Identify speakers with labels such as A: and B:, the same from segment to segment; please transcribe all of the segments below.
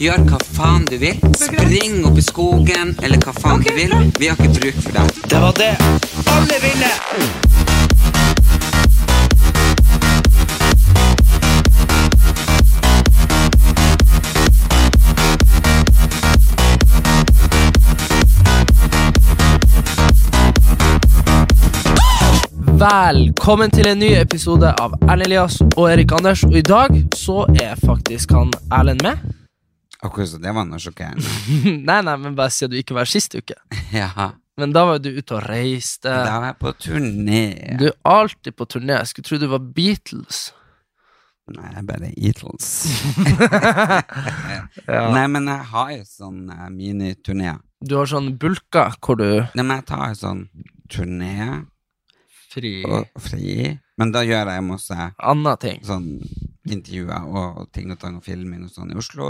A: Gjør hva faen du vil. Spring opp i skogen, eller hva faen du vil. Vi har ikke bruk for deg. Det var det alle ville!
B: Velkommen til en ny episode av Erlend Elias og Erik Anders. Og i dag så er faktisk han Erlend med.
A: Akkurat så det var noe sjokkerende.
B: nei, nei, men bare si at du ikke var her sist uke.
A: Ja,
B: Men da var jo du ute og reiste.
A: da var jeg på turné.
B: Du er alltid på turné. Jeg skulle tro du var Beatles.
A: Nei, jeg er bare Eatles. Nei, men jeg har jo sånn eh, miniturné.
B: Du har sånn bulker hvor du
A: Nei, men jeg tar jo sånn turné
B: Fri
A: og fri, men da gjør jeg masse
B: Anna ting.
A: sånn intervjuer og ting og tang og filmer og sånn i Oslo,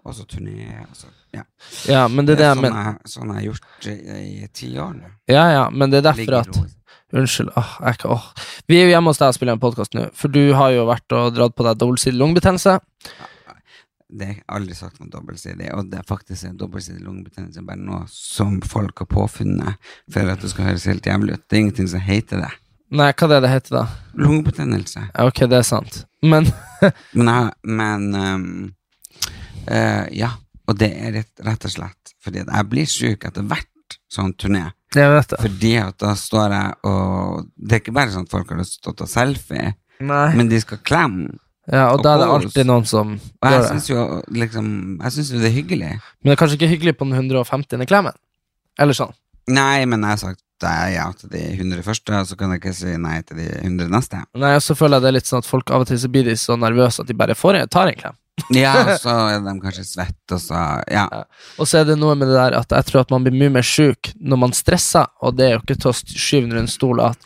A: og så turné, og så, ja.
B: Ja, men det er det jeg
A: sånn,
B: mener.
A: jeg, sånn jeg har gjort i, i ti år nå.
B: Ja, ja, men det er derfor
A: Ligger
B: at
A: i ro.
B: Unnskyld. Åh, jeg kan, åh. Vi er jo hjemme hos deg og spiller en podkast nå, for du har jo vært og dratt på deg dobbeltsidig lungebetennelse.
A: Det har jeg aldri sagt noe dobbeltsidig, og det er faktisk en dobbeltsidig lungebetennelse, bare noe som folk har påfunnet for at det skal høres helt jævlig ut. Det er ingenting som heter det.
B: Nei, hva er det det heter da?
A: Lungebetennelse.
B: Ja, Ok, det er sant. Men
A: Men, jeg- men ehm, eh, ja, og det er rett, rett og slett fordi at jeg blir syk etter hvert sånn turné.
B: Jeg vet det.
A: Fordi at da står jeg og Det er ikke bare sånn at folk har lyst til å ta selfie,
B: Nei.
A: men de skal klemme.
B: Ja, og
A: Og
B: da er det
A: Paulus.
B: alltid noen som
A: Og jeg
B: gjør det.
A: syns jo liksom Jeg synes jo det er hyggelig.
B: Men det er kanskje ikke hyggelig på den 150. klemmen? Eller sånn.
A: Nei, men jeg har sagt nei, ja til de 100 første, og så kan jeg ikke si nei til de 100 neste.
B: Nei, og så føler jeg det er litt sånn at folk av og til så blir de så nervøse at de bare får en, tar en klem.
A: Ja, og så er de kanskje svette, og så Ja.
B: Og så er det noe med det der at jeg tror at man blir mye mer sjuk når man stresser, og det er jo ikke til å skyve under en stol at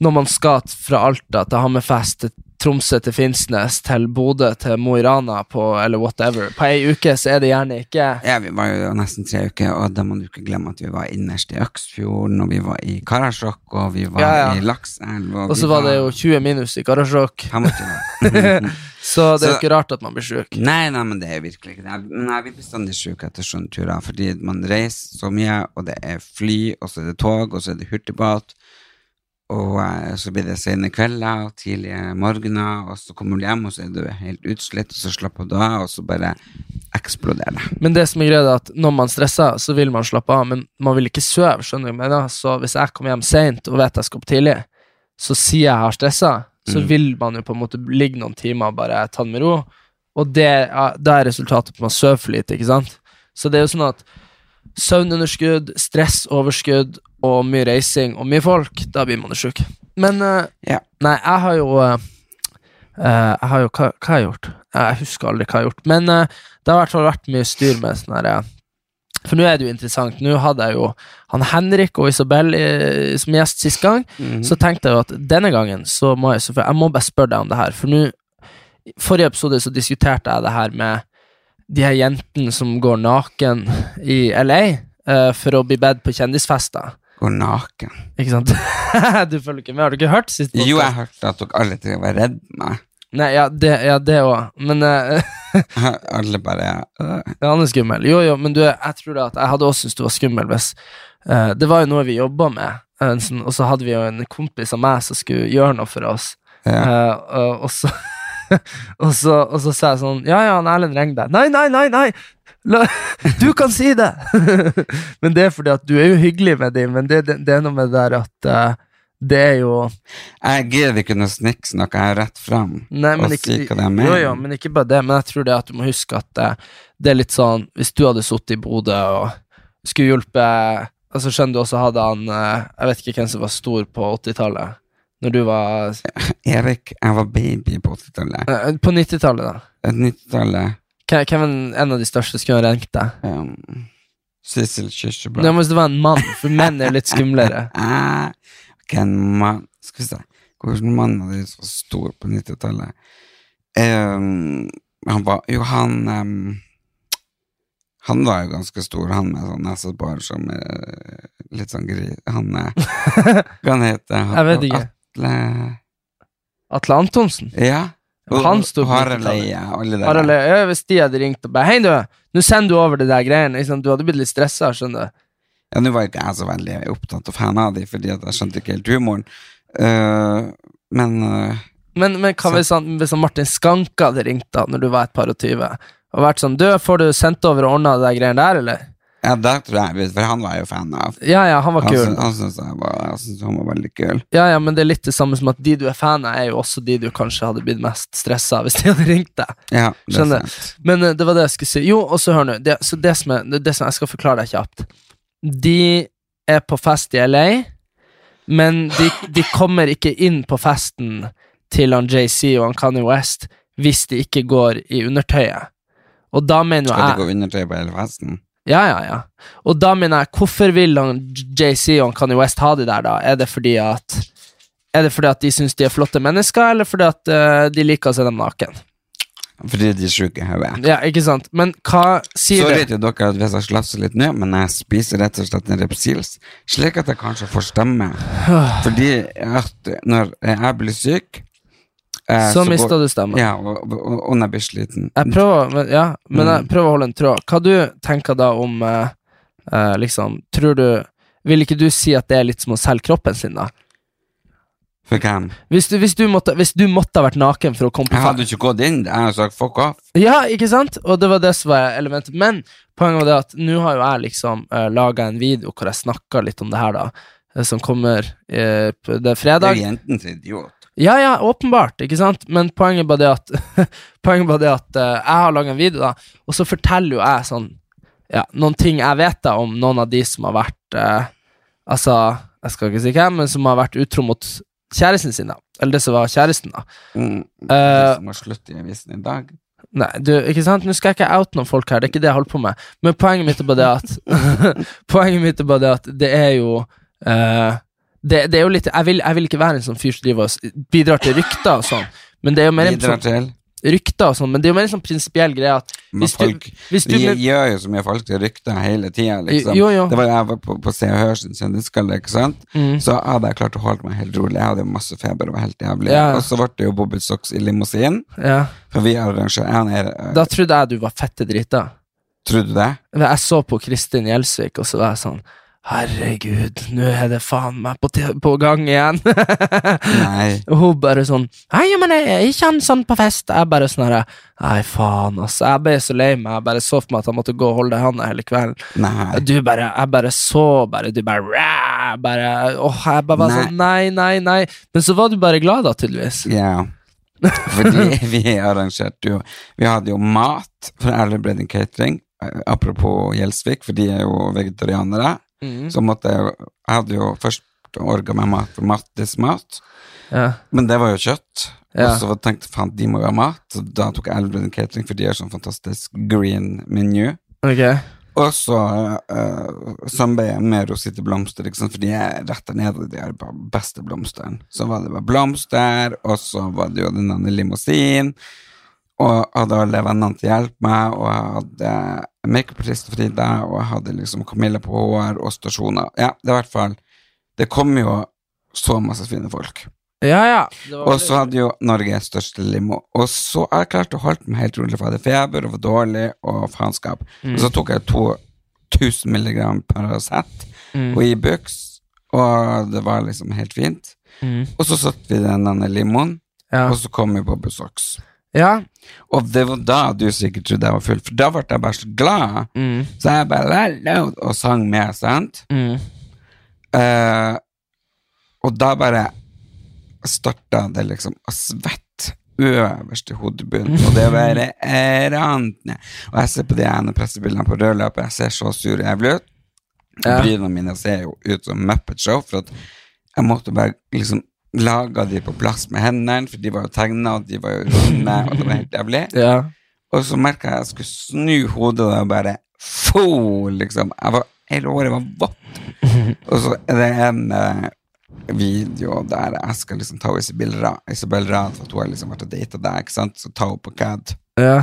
B: når man skal fra Alta til Hammerfest til Tromsø til Finnsnes til Bodø til Mo i Rana på eller whatever, på ei uke så er det gjerne ikke
A: Ja, Vi var jo nesten tre uker, og da må du ikke glemme at vi var innerst i Øksfjorden, og vi var i Karasjok, og vi var
B: Ja, ja.
A: i Lakselv
B: Og så var det jo 20 minus i Karasjok, så det er jo
A: Så-
B: ikke rart at man blir sjuk.
A: Nei, nei, men det er virkelig ikke det. Jeg- Men jeg blir bestandig sjuk etter sånne turer, fordi man reiser så mye, og det er fly, og så er det tog, og så er det hurtigbåt, og eh, så blir det sene kvelder og tidlige morgener, og så kommer du hjem, og så er du helt utslitt, og så slapper du av, og så bare eksploderer det.
B: Men det som er greia er at når man stresser, så vil man slappe av, men man vil ikke sove. skjønner du hva jeg mener? Så hvis jeg kommer hjem seint og vet jeg skal opp tidlig, så sier jeg jeg har stressa, så vil man jo på en måte ligge noen timer og bare ta det med ro. Og det, er- da er resultatet på at man sover for lite, ikke sant? Så det er jo sånn at søvnunderskudd, stressoverskudd og mye reising og mye folk, da blir man jo sjuk. Men eh,
A: Ja.
B: Nei, jeg har jo eh, eh, Jeg har jo hva, hva har jeg gjort? Jeg husker aldri hva jeg har gjort. Men eh, det har i hvert fall vært mye styr med sånn her eh, For nå er det jo interessant. Nå hadde jeg jo han Henrik og Isabel eh, som gjest sist gang.
A: Mm.
B: Så tenkte jeg jo at denne gangen så må jeg selvfølgelig Jeg må bare spørre deg om det her. For nå i forrige episode så diskuterte jeg det her med de her jentene som går naken i LA eh, for å bli bedt på kjendisfester.
A: Går naken.
B: Ikke sant? du følger ikke med? Har du ikke hørt sist?
A: Jo, jeg hørte at dere alle tre var redd meg.
B: Nei, ja, det òg. Ja, det også. men eh,
A: Alle bare øh.
B: han er skummel. Jo, jo, men du, jeg tror da at jeg hadde også syntes du var skummel hvis eh, Det var jo noe vi jobba med, en sånn- og så hadde vi jo en kompis av meg som skulle gjøre noe for oss,
A: Ja.
B: Eh, og, og så og så, og så sa jeg sånn Ja, ja, han Erlend ringer deg. Nei, nei, nei! nei La, du kan si det! men det er fordi at du er jo hyggelig med dem, men det, det, det er noe med det der at eh, det er jo
A: Jeg gidder ikke noe snikksnakk, jeg er rett fram.
B: Nei, men
A: og
B: ikke,
A: si hva det er med.
B: jo, jo, men ikke bare det. Men jeg tror det at du må huske at eh, det er litt sånn Hvis du hadde sittet i Bodø og skulle hjulpet altså Skjønner du, og så hadde han eh, Jeg vet ikke hvem som var stor på 80-tallet. Når du var
A: Erik, jeg var baby på 80-tallet.
B: eh, På 90-tallet, da.
A: 90-tallet
B: Hva- Hvem er en av de største skulle ha rengt deg?
A: Um, Sissel Kyrkjebø.
B: Det må det være en mann, for menn er jo litt skumlere.
A: Ah, Hvem mann Skal vi se Hvilken mann var det som var stor på 90-tallet? Ehm, han var Jo, han ehm, Han var jo ganske stor, han med sånn nesebor som eh, Litt sånn gris Han eh, Hva han heter han?
B: Jeg vet ikke.
A: Atle
B: Atle Antonsen.
A: Ja.
B: Ja, han sto på
A: Harald
B: 90-tallet.
A: Eia, alle der.
B: Harald, Øya, hvis de hadde ringt og bare Hei, du, nå sender du over det der greiene. Ikke sant? Du hadde blitt litt stressa, skjønner du.
A: Ja, nå var ikke jeg så veldig opptatt og fan av de, fordi at jeg skjønte ikke helt humoren. Eh, men eh,
B: Men, men hva
A: Så-
B: hvis, han, hvis han Martin Skanke hadde ringt da når du var et par og tyve, og vært sånn Du, får du sendt over og ordna det der greiene der, eller?
A: ja, da tror jeg For han var jeg jo fan av.
B: Ja, ja, han var
A: Han,
B: kul.
A: syn- han syntes jeg var, jeg syntes han var veldig kul.
B: Ja, ja, men det er litt det samme som at de du er fan av, er jo også de du kanskje hadde blitt mest stressa hvis de hadde ringt deg.
A: Ja, det er
B: Skjønner.
A: sant.
B: Men eh, det var det jeg skulle si. Jo, og så hør nå. Det, så det, som er, det, det som jeg skal forklare deg kjapt. De er på fest i LA, men de, de kommer ikke inn på festen til han JC og han Kanye West hvis de ikke går i undertøyet. Og da mener jo
A: Skal
B: jeg
A: det gå undertøy på hele festen?
B: ja, ja, ja. Og da mener jeg, hvorfor vil han JC og han Kanye West ha de der, da? Er det fordi at Er det fordi at de syns de er flotte mennesker, eller fordi at eh, de liker å se dem naken?
A: Fordi de er sjuke i hodet.
B: Ja, ikke sant? Men hva sier
A: Så
B: det?
A: vet jo dere at hvis jeg slafser litt nå, men jeg spiser rett og slett en Repsils, slik at jeg kanskje får stemme. Fordi at når jeg blir syk eh,
B: Så
A: går-
B: mister du stemmen.
A: Ja, og, og, og, og når jeg blir sliten.
B: Jeg prøver, men, ja, men
A: Mm.
B: jeg prøver å holde en tråd. Hva du tenker da om eh, eh, liksom, Tror du Vil ikke du si at det er litt som å selge kroppen sin, da?
A: For hvem?
B: Hvis du, hvis du, måtte, hvis du måtte ha vært naken for å komme på
A: Jeg
B: fest
A: hadde ikke gått inn. Jeg hadde sagt fuck off.
B: Ja, ikke sant? Og det var det som var elementet. Men poenget var det at nå har jo jeg liksom uh, laga en video hvor jeg snakka litt om det her, da. eh, Som kommer eh, på- det er
A: Det er
B: fredag.
A: jo jentens idiot.
B: Ja, ja, åpenbart, ikke sant? Men poenget var det at, poenget var det at eh, jeg har laga en video, da, og så forteller jo jeg sånn ja, noen ting jeg vet da om noen av de som har vært eh, Altså, jeg skal ikke si hvem, men som har vært utro mot kjæresten sin, da. Eller det som var kjæresten, da.
A: Mm.
B: Eh,
A: de som har slutt i avisen i dag.
B: Nei, du, ikke sant? Nå skal jeg ikke out noen folk her, det er ikke det jeg holder på med. Men poenget mitt er bare det at Poenget mitt er bare det at det er jo eh, det, det er jo litt Jeg vil, jeg vil ikke være en sånn fyr som driver og s- bidrar til rykter og sånn, men det er jo mer en
A: Bidrar
B: sånn,
A: til.
B: rykter og sånn, men det er jo mer en sånn prinsipiell greie at
A: Men
B: hvis du,
A: folk-
B: hvis du
A: Vi gjør jo så mye folk til rykter hele tida, liksom.
B: Jo, jo.
A: Det var jeg var på, på Se og Hør sin søndagsgalla, ikke sant.
B: Mm.
A: Så hadde jeg klart å holde meg helt rolig. Jeg hadde jo masse feber og var helt jævlig.
B: Ja.
A: Og så ble det jo Bobby Socks i limousin,
B: ja,
A: for vi arrangerer han er,
B: Da trodde jeg du var fette drita.
A: Tror du det?
B: Men Jeg så på Kristin Gjelsvik, og så var jeg sånn Herregud, nå er det faen meg på, te- på gang igjen.
A: Nei.
B: Og hun bare sånn Nei, men jeg er ikke han sånn på fest. Jeg bare sånn her Nei, faen, ass. Jeg ble så lei meg. Jeg bare så for meg at han måtte gå og holde i handa hele kvelden.
A: Nei.
B: Du bare Jeg bare så bare Du bare "Ræ", Bare Åh, jeg bare var sånn Nei, nei, nei. Men så var du bare glad, da, tydeligvis.
A: Ja. Fordi vi arrangerte jo Vi hadde jo mat fra Erlend Bredin Catering. eh, Apropos Gjelsvik, for de er jo vegetarianere.
B: Mhm.
A: Så måtte jeg jo- Jeg hadde jo først orga meg mat for Mattis mat,
B: Ja.
A: men det var jo kjøtt.
B: Ja.
A: Og så tenkte jeg faen, de må jo ha mat, så da tok jeg Erlend Bredin Catering, for de har sånn fantastisk green menu.
B: Ok.
A: Og så uh, samarbeidet med Rosite Blomster, ikke sant? for de er rett der nede, og de er bare beste blomsteren. Så var det bare blomster, og så var det jo den andre limousin, og jeg hadde alle vennene til å hjelpe meg, og jeg hadde makeupartist Frida, og jeg hadde liksom Camilla på HR, og stasjoner. Ja, det er i hvert fall Det kom jo så masse fine folk.
B: Ja, ja. Det var
A: Og
B: veldig-
A: så hadde jo Norges største limo. Og så har jeg klart å holde meg helt rolig, for jeg hadde feber og var dårlig og faenskap.
B: Mm.
A: Og så tok jeg 2000 milligram Paracet
B: Mm.
A: og Ibux, og det var liksom helt fint.
B: Mm.
A: Og så satt vi i den andre limoen,
B: Ja.
A: og så kom vi på Busox.
B: ja.
A: Og det var da du sikkert trodde jeg var full, for da ble jeg bare så glad.
B: Mm.
A: Så jeg bare la, la, og sang med, sant?
B: Mm.
A: Eh, og da bare starta det liksom å svette øverst i hodebunnen, og det bare eh, rant ned. Og jeg ser på de ene pressebildene på rød løper, jeg ser så sur og jævlig ut.
B: Ja.
A: Brynene mine ser jo ut som Muppet Show, for at jeg måtte bare liksom lage de på plass med hendene, for de var jo tegna, og de var jo runde, og det var helt jævlig.
B: ja.
A: Og så merka jeg at jeg skulle snu hodet og bare Fo! Liksom. Jeg var, hele håret var vått. Og så er det en eh, video der jeg skal liksom ta Isabel Ra- Isabel Rad for at hun har liksom vært og data deg, ikke sant? Så tar hun på CAD.
B: Ja.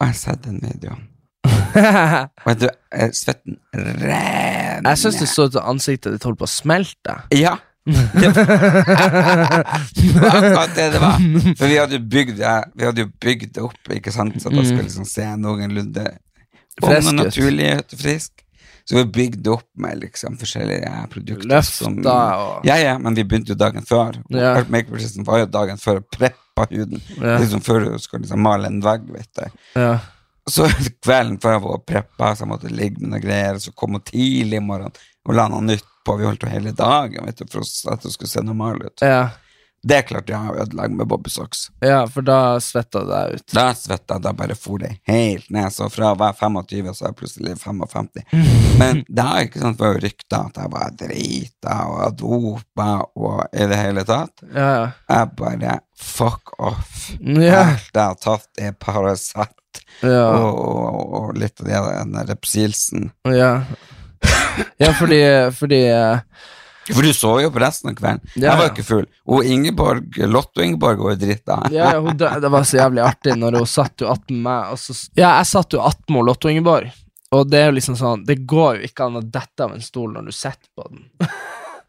A: Og jeg har sett den videoen. Og jeg, tror- eh, svetten renner.
B: jeg syns det så ut som ansiktet ditt holdt på å smelte.
A: Ja. Det var det var akkurat det det var. For vi hadde jo bygd det, vi hadde jo bygd det opp, ikke sant? så man skulle liksom se noenlunde ung og
B: Mm. Frisk ut.
A: naturlig ut og frisk. Så vi bygde opp med liksom forskjellige produkter. som-
B: Løfta og
A: Ja, ja, men vi begynte jo dagen før. Og
B: Ja.
A: Alt make-prosessen var jo dagen før å preppe huden.
B: Ja.
A: Liksom før du skal liksom male en vegg, vet du.
B: ja.
A: Så kvelden før jeg var og preppa, så jeg måtte ligge med noen greier, så kom hun tidlig i morgen og la noe nytt på. Vi holdt på hele dagen vet du, for oss at det skulle se normal ut.
B: ja.
A: Det klarte jeg å ødelegge med bobbysocks.
B: ja, for da svetta det deg ut.
A: Da svetta jeg, da bare for det helt ned. Så fra å være 25, så er jeg plutselig 55. Men da ikke sant, var jo rykter at jeg var drita og dopa og i det hele tatt.
B: Ja, ja.
A: Jeg bare fuck off.
B: Ja.
A: Alt jeg har tatt, er Paracet
B: ja.
A: og, og, og litt av det den der Repsilsen.
B: Ja, ja fordi, fordi eh,
A: For du så jo på resten av kvelden.
B: Ja,
A: jeg var
B: ja.
A: ikke full. Og Ingeborg, Lotto-Ingeborg var jo drita.
B: ja, ja, hun, dø- Det var så jævlig artig når hun satt jo attmed meg. Og så, ja, jeg satt jo attmed hun Lotto Ingeborg, og det er jo liksom sånn Det går jo ikke an å dette av en stol når du sitter på den.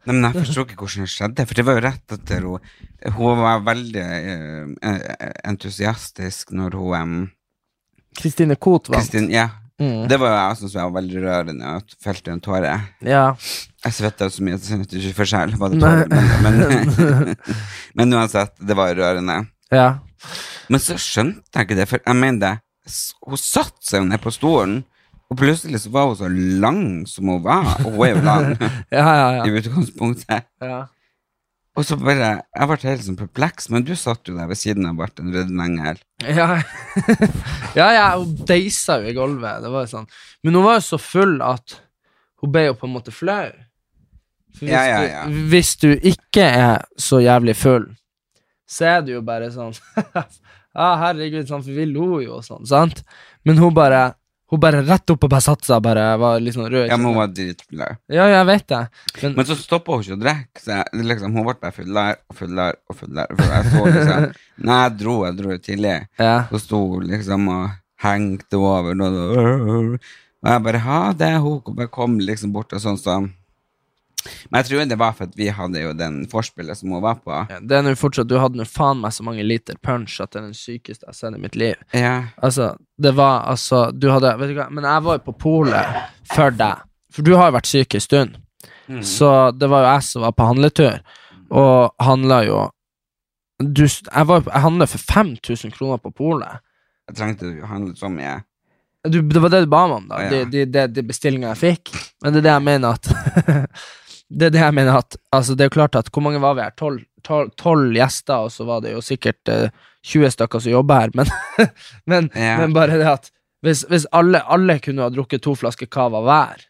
A: Nei, men jeg forstår ikke hvordan det skjedde, for det var jo rett etter hun Hun var veldig eh, eh, entusiastisk når hun em,
B: Kristine Koht vant.
A: Kristin Ja.
B: Mm.
A: Det var jo jeg som var veldig rørende og felte en tåre.
B: Ja.
A: Jeg svetta så mye at jeg kjente ikke forskjell. Var det
B: Nei.
A: tårer? Men, men, men uansett, det var rørende.
B: ja.
A: Men så skjønte jeg ikke det, for jeg mener det. s- Hun satte seg jo ned på stolen, og plutselig så var hun så lang som hun var. Og hun er jo lang
B: Ja, ja,
A: i utgangspunktet.
B: ja. ja.
A: Og så bare, jeg ble helt sånn perpleks, men du satt jo der ved siden av Barten Røden Engel.
B: Ja, ja, ja hun deisa jo i gulvet. Det var jo sånn. Men hun var jo så full at hun ble jo på en måte flau. For Hvis,
A: Ja, ja, ja.
B: Du, hvis du ikke er så jævlig full, så er du jo bare sånn Ja, herregud, sånn, for vi lo jo og sånn, sant? Men hun bare Hun bare rett opp og bare satte seg, bare var litt sånn rød. i
A: Ja, men hun
B: kinnet.
A: var dritflau.
B: ja, jeg vet det. Men,
A: Men så stoppa hun ikke å drikke, så jeg, liksom, hun ble bare fullere og fullere og fullere. For jeg så liksom, Nei, jeg dro, jeg dro jo tidlig.
B: ja.
A: Så sto hun liksom og hengte over noe, og og jeg bare ha det, hun kom- bare kom liksom bort og sånn sånn. Men jeg tror det var for at vi hadde jo den forspillet som hun var på.
B: Ja, Det er nå fortsatt Du hadde nå faen meg så mange liter punch at det er den sykeste jeg har sett i mitt liv.
A: Ja,
B: Altså, det var altså Du hadde Vet du hva, men jeg var jo på polet for deg. For du har jo vært syk en stund. Så det var jo jeg som var på handletur, og handla jo du, s- Jeg, var- jeg handla for 5000 kroner på polet.
A: jeg trengte jo å handle så mye.
B: Du, det var det du ba meg om, da.
A: Ja.
B: De, de, de, de bestillinga jeg fikk. Men det er det jeg mener at Det er det jeg mener at Altså, det er jo klart at Hvor mange var vi her? Tolv- tolv- Tolv gjester, og så var det jo sikkert eh, 20 stykker som jobber her, men, men,
A: Ja.
B: men bare det at Hvis, hvis alle, alle kunne ha drukket to flasker cava hver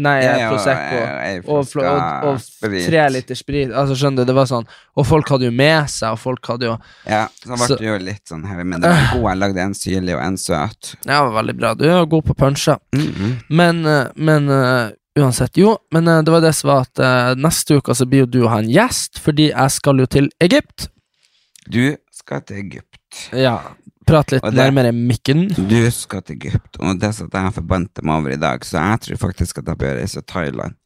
B: Nei,
A: Jeg og-
B: Prosecco
A: jeg- jeg
B: og, fl- og,
A: flaska
B: og
A: sprit.
B: tre liter sprit Altså, skjønner du, det var sånn Og folk hadde jo med seg, og folk hadde jo
A: Ja, så ble
B: Så-
A: det jo litt sånn heavy, men det var god. Jeg lagde en syrlig og en søt.
B: Ja, veldig bra. Du er god på punsjer.
A: Mhm.
B: Men, eh, men eh, uansett, jo. Men eh, det var det som var at eh, neste uke så blir jo du og han gjest, fordi jeg skal jo til Egypt.
A: Du skal til Egypt.
B: Ja. Prate litt
A: Og det-
B: nærmere mikken.
A: Du skal til Egypt, og det satt jeg forbante meg over i dag, så jeg tror faktisk at jeg bør reise til Thailand.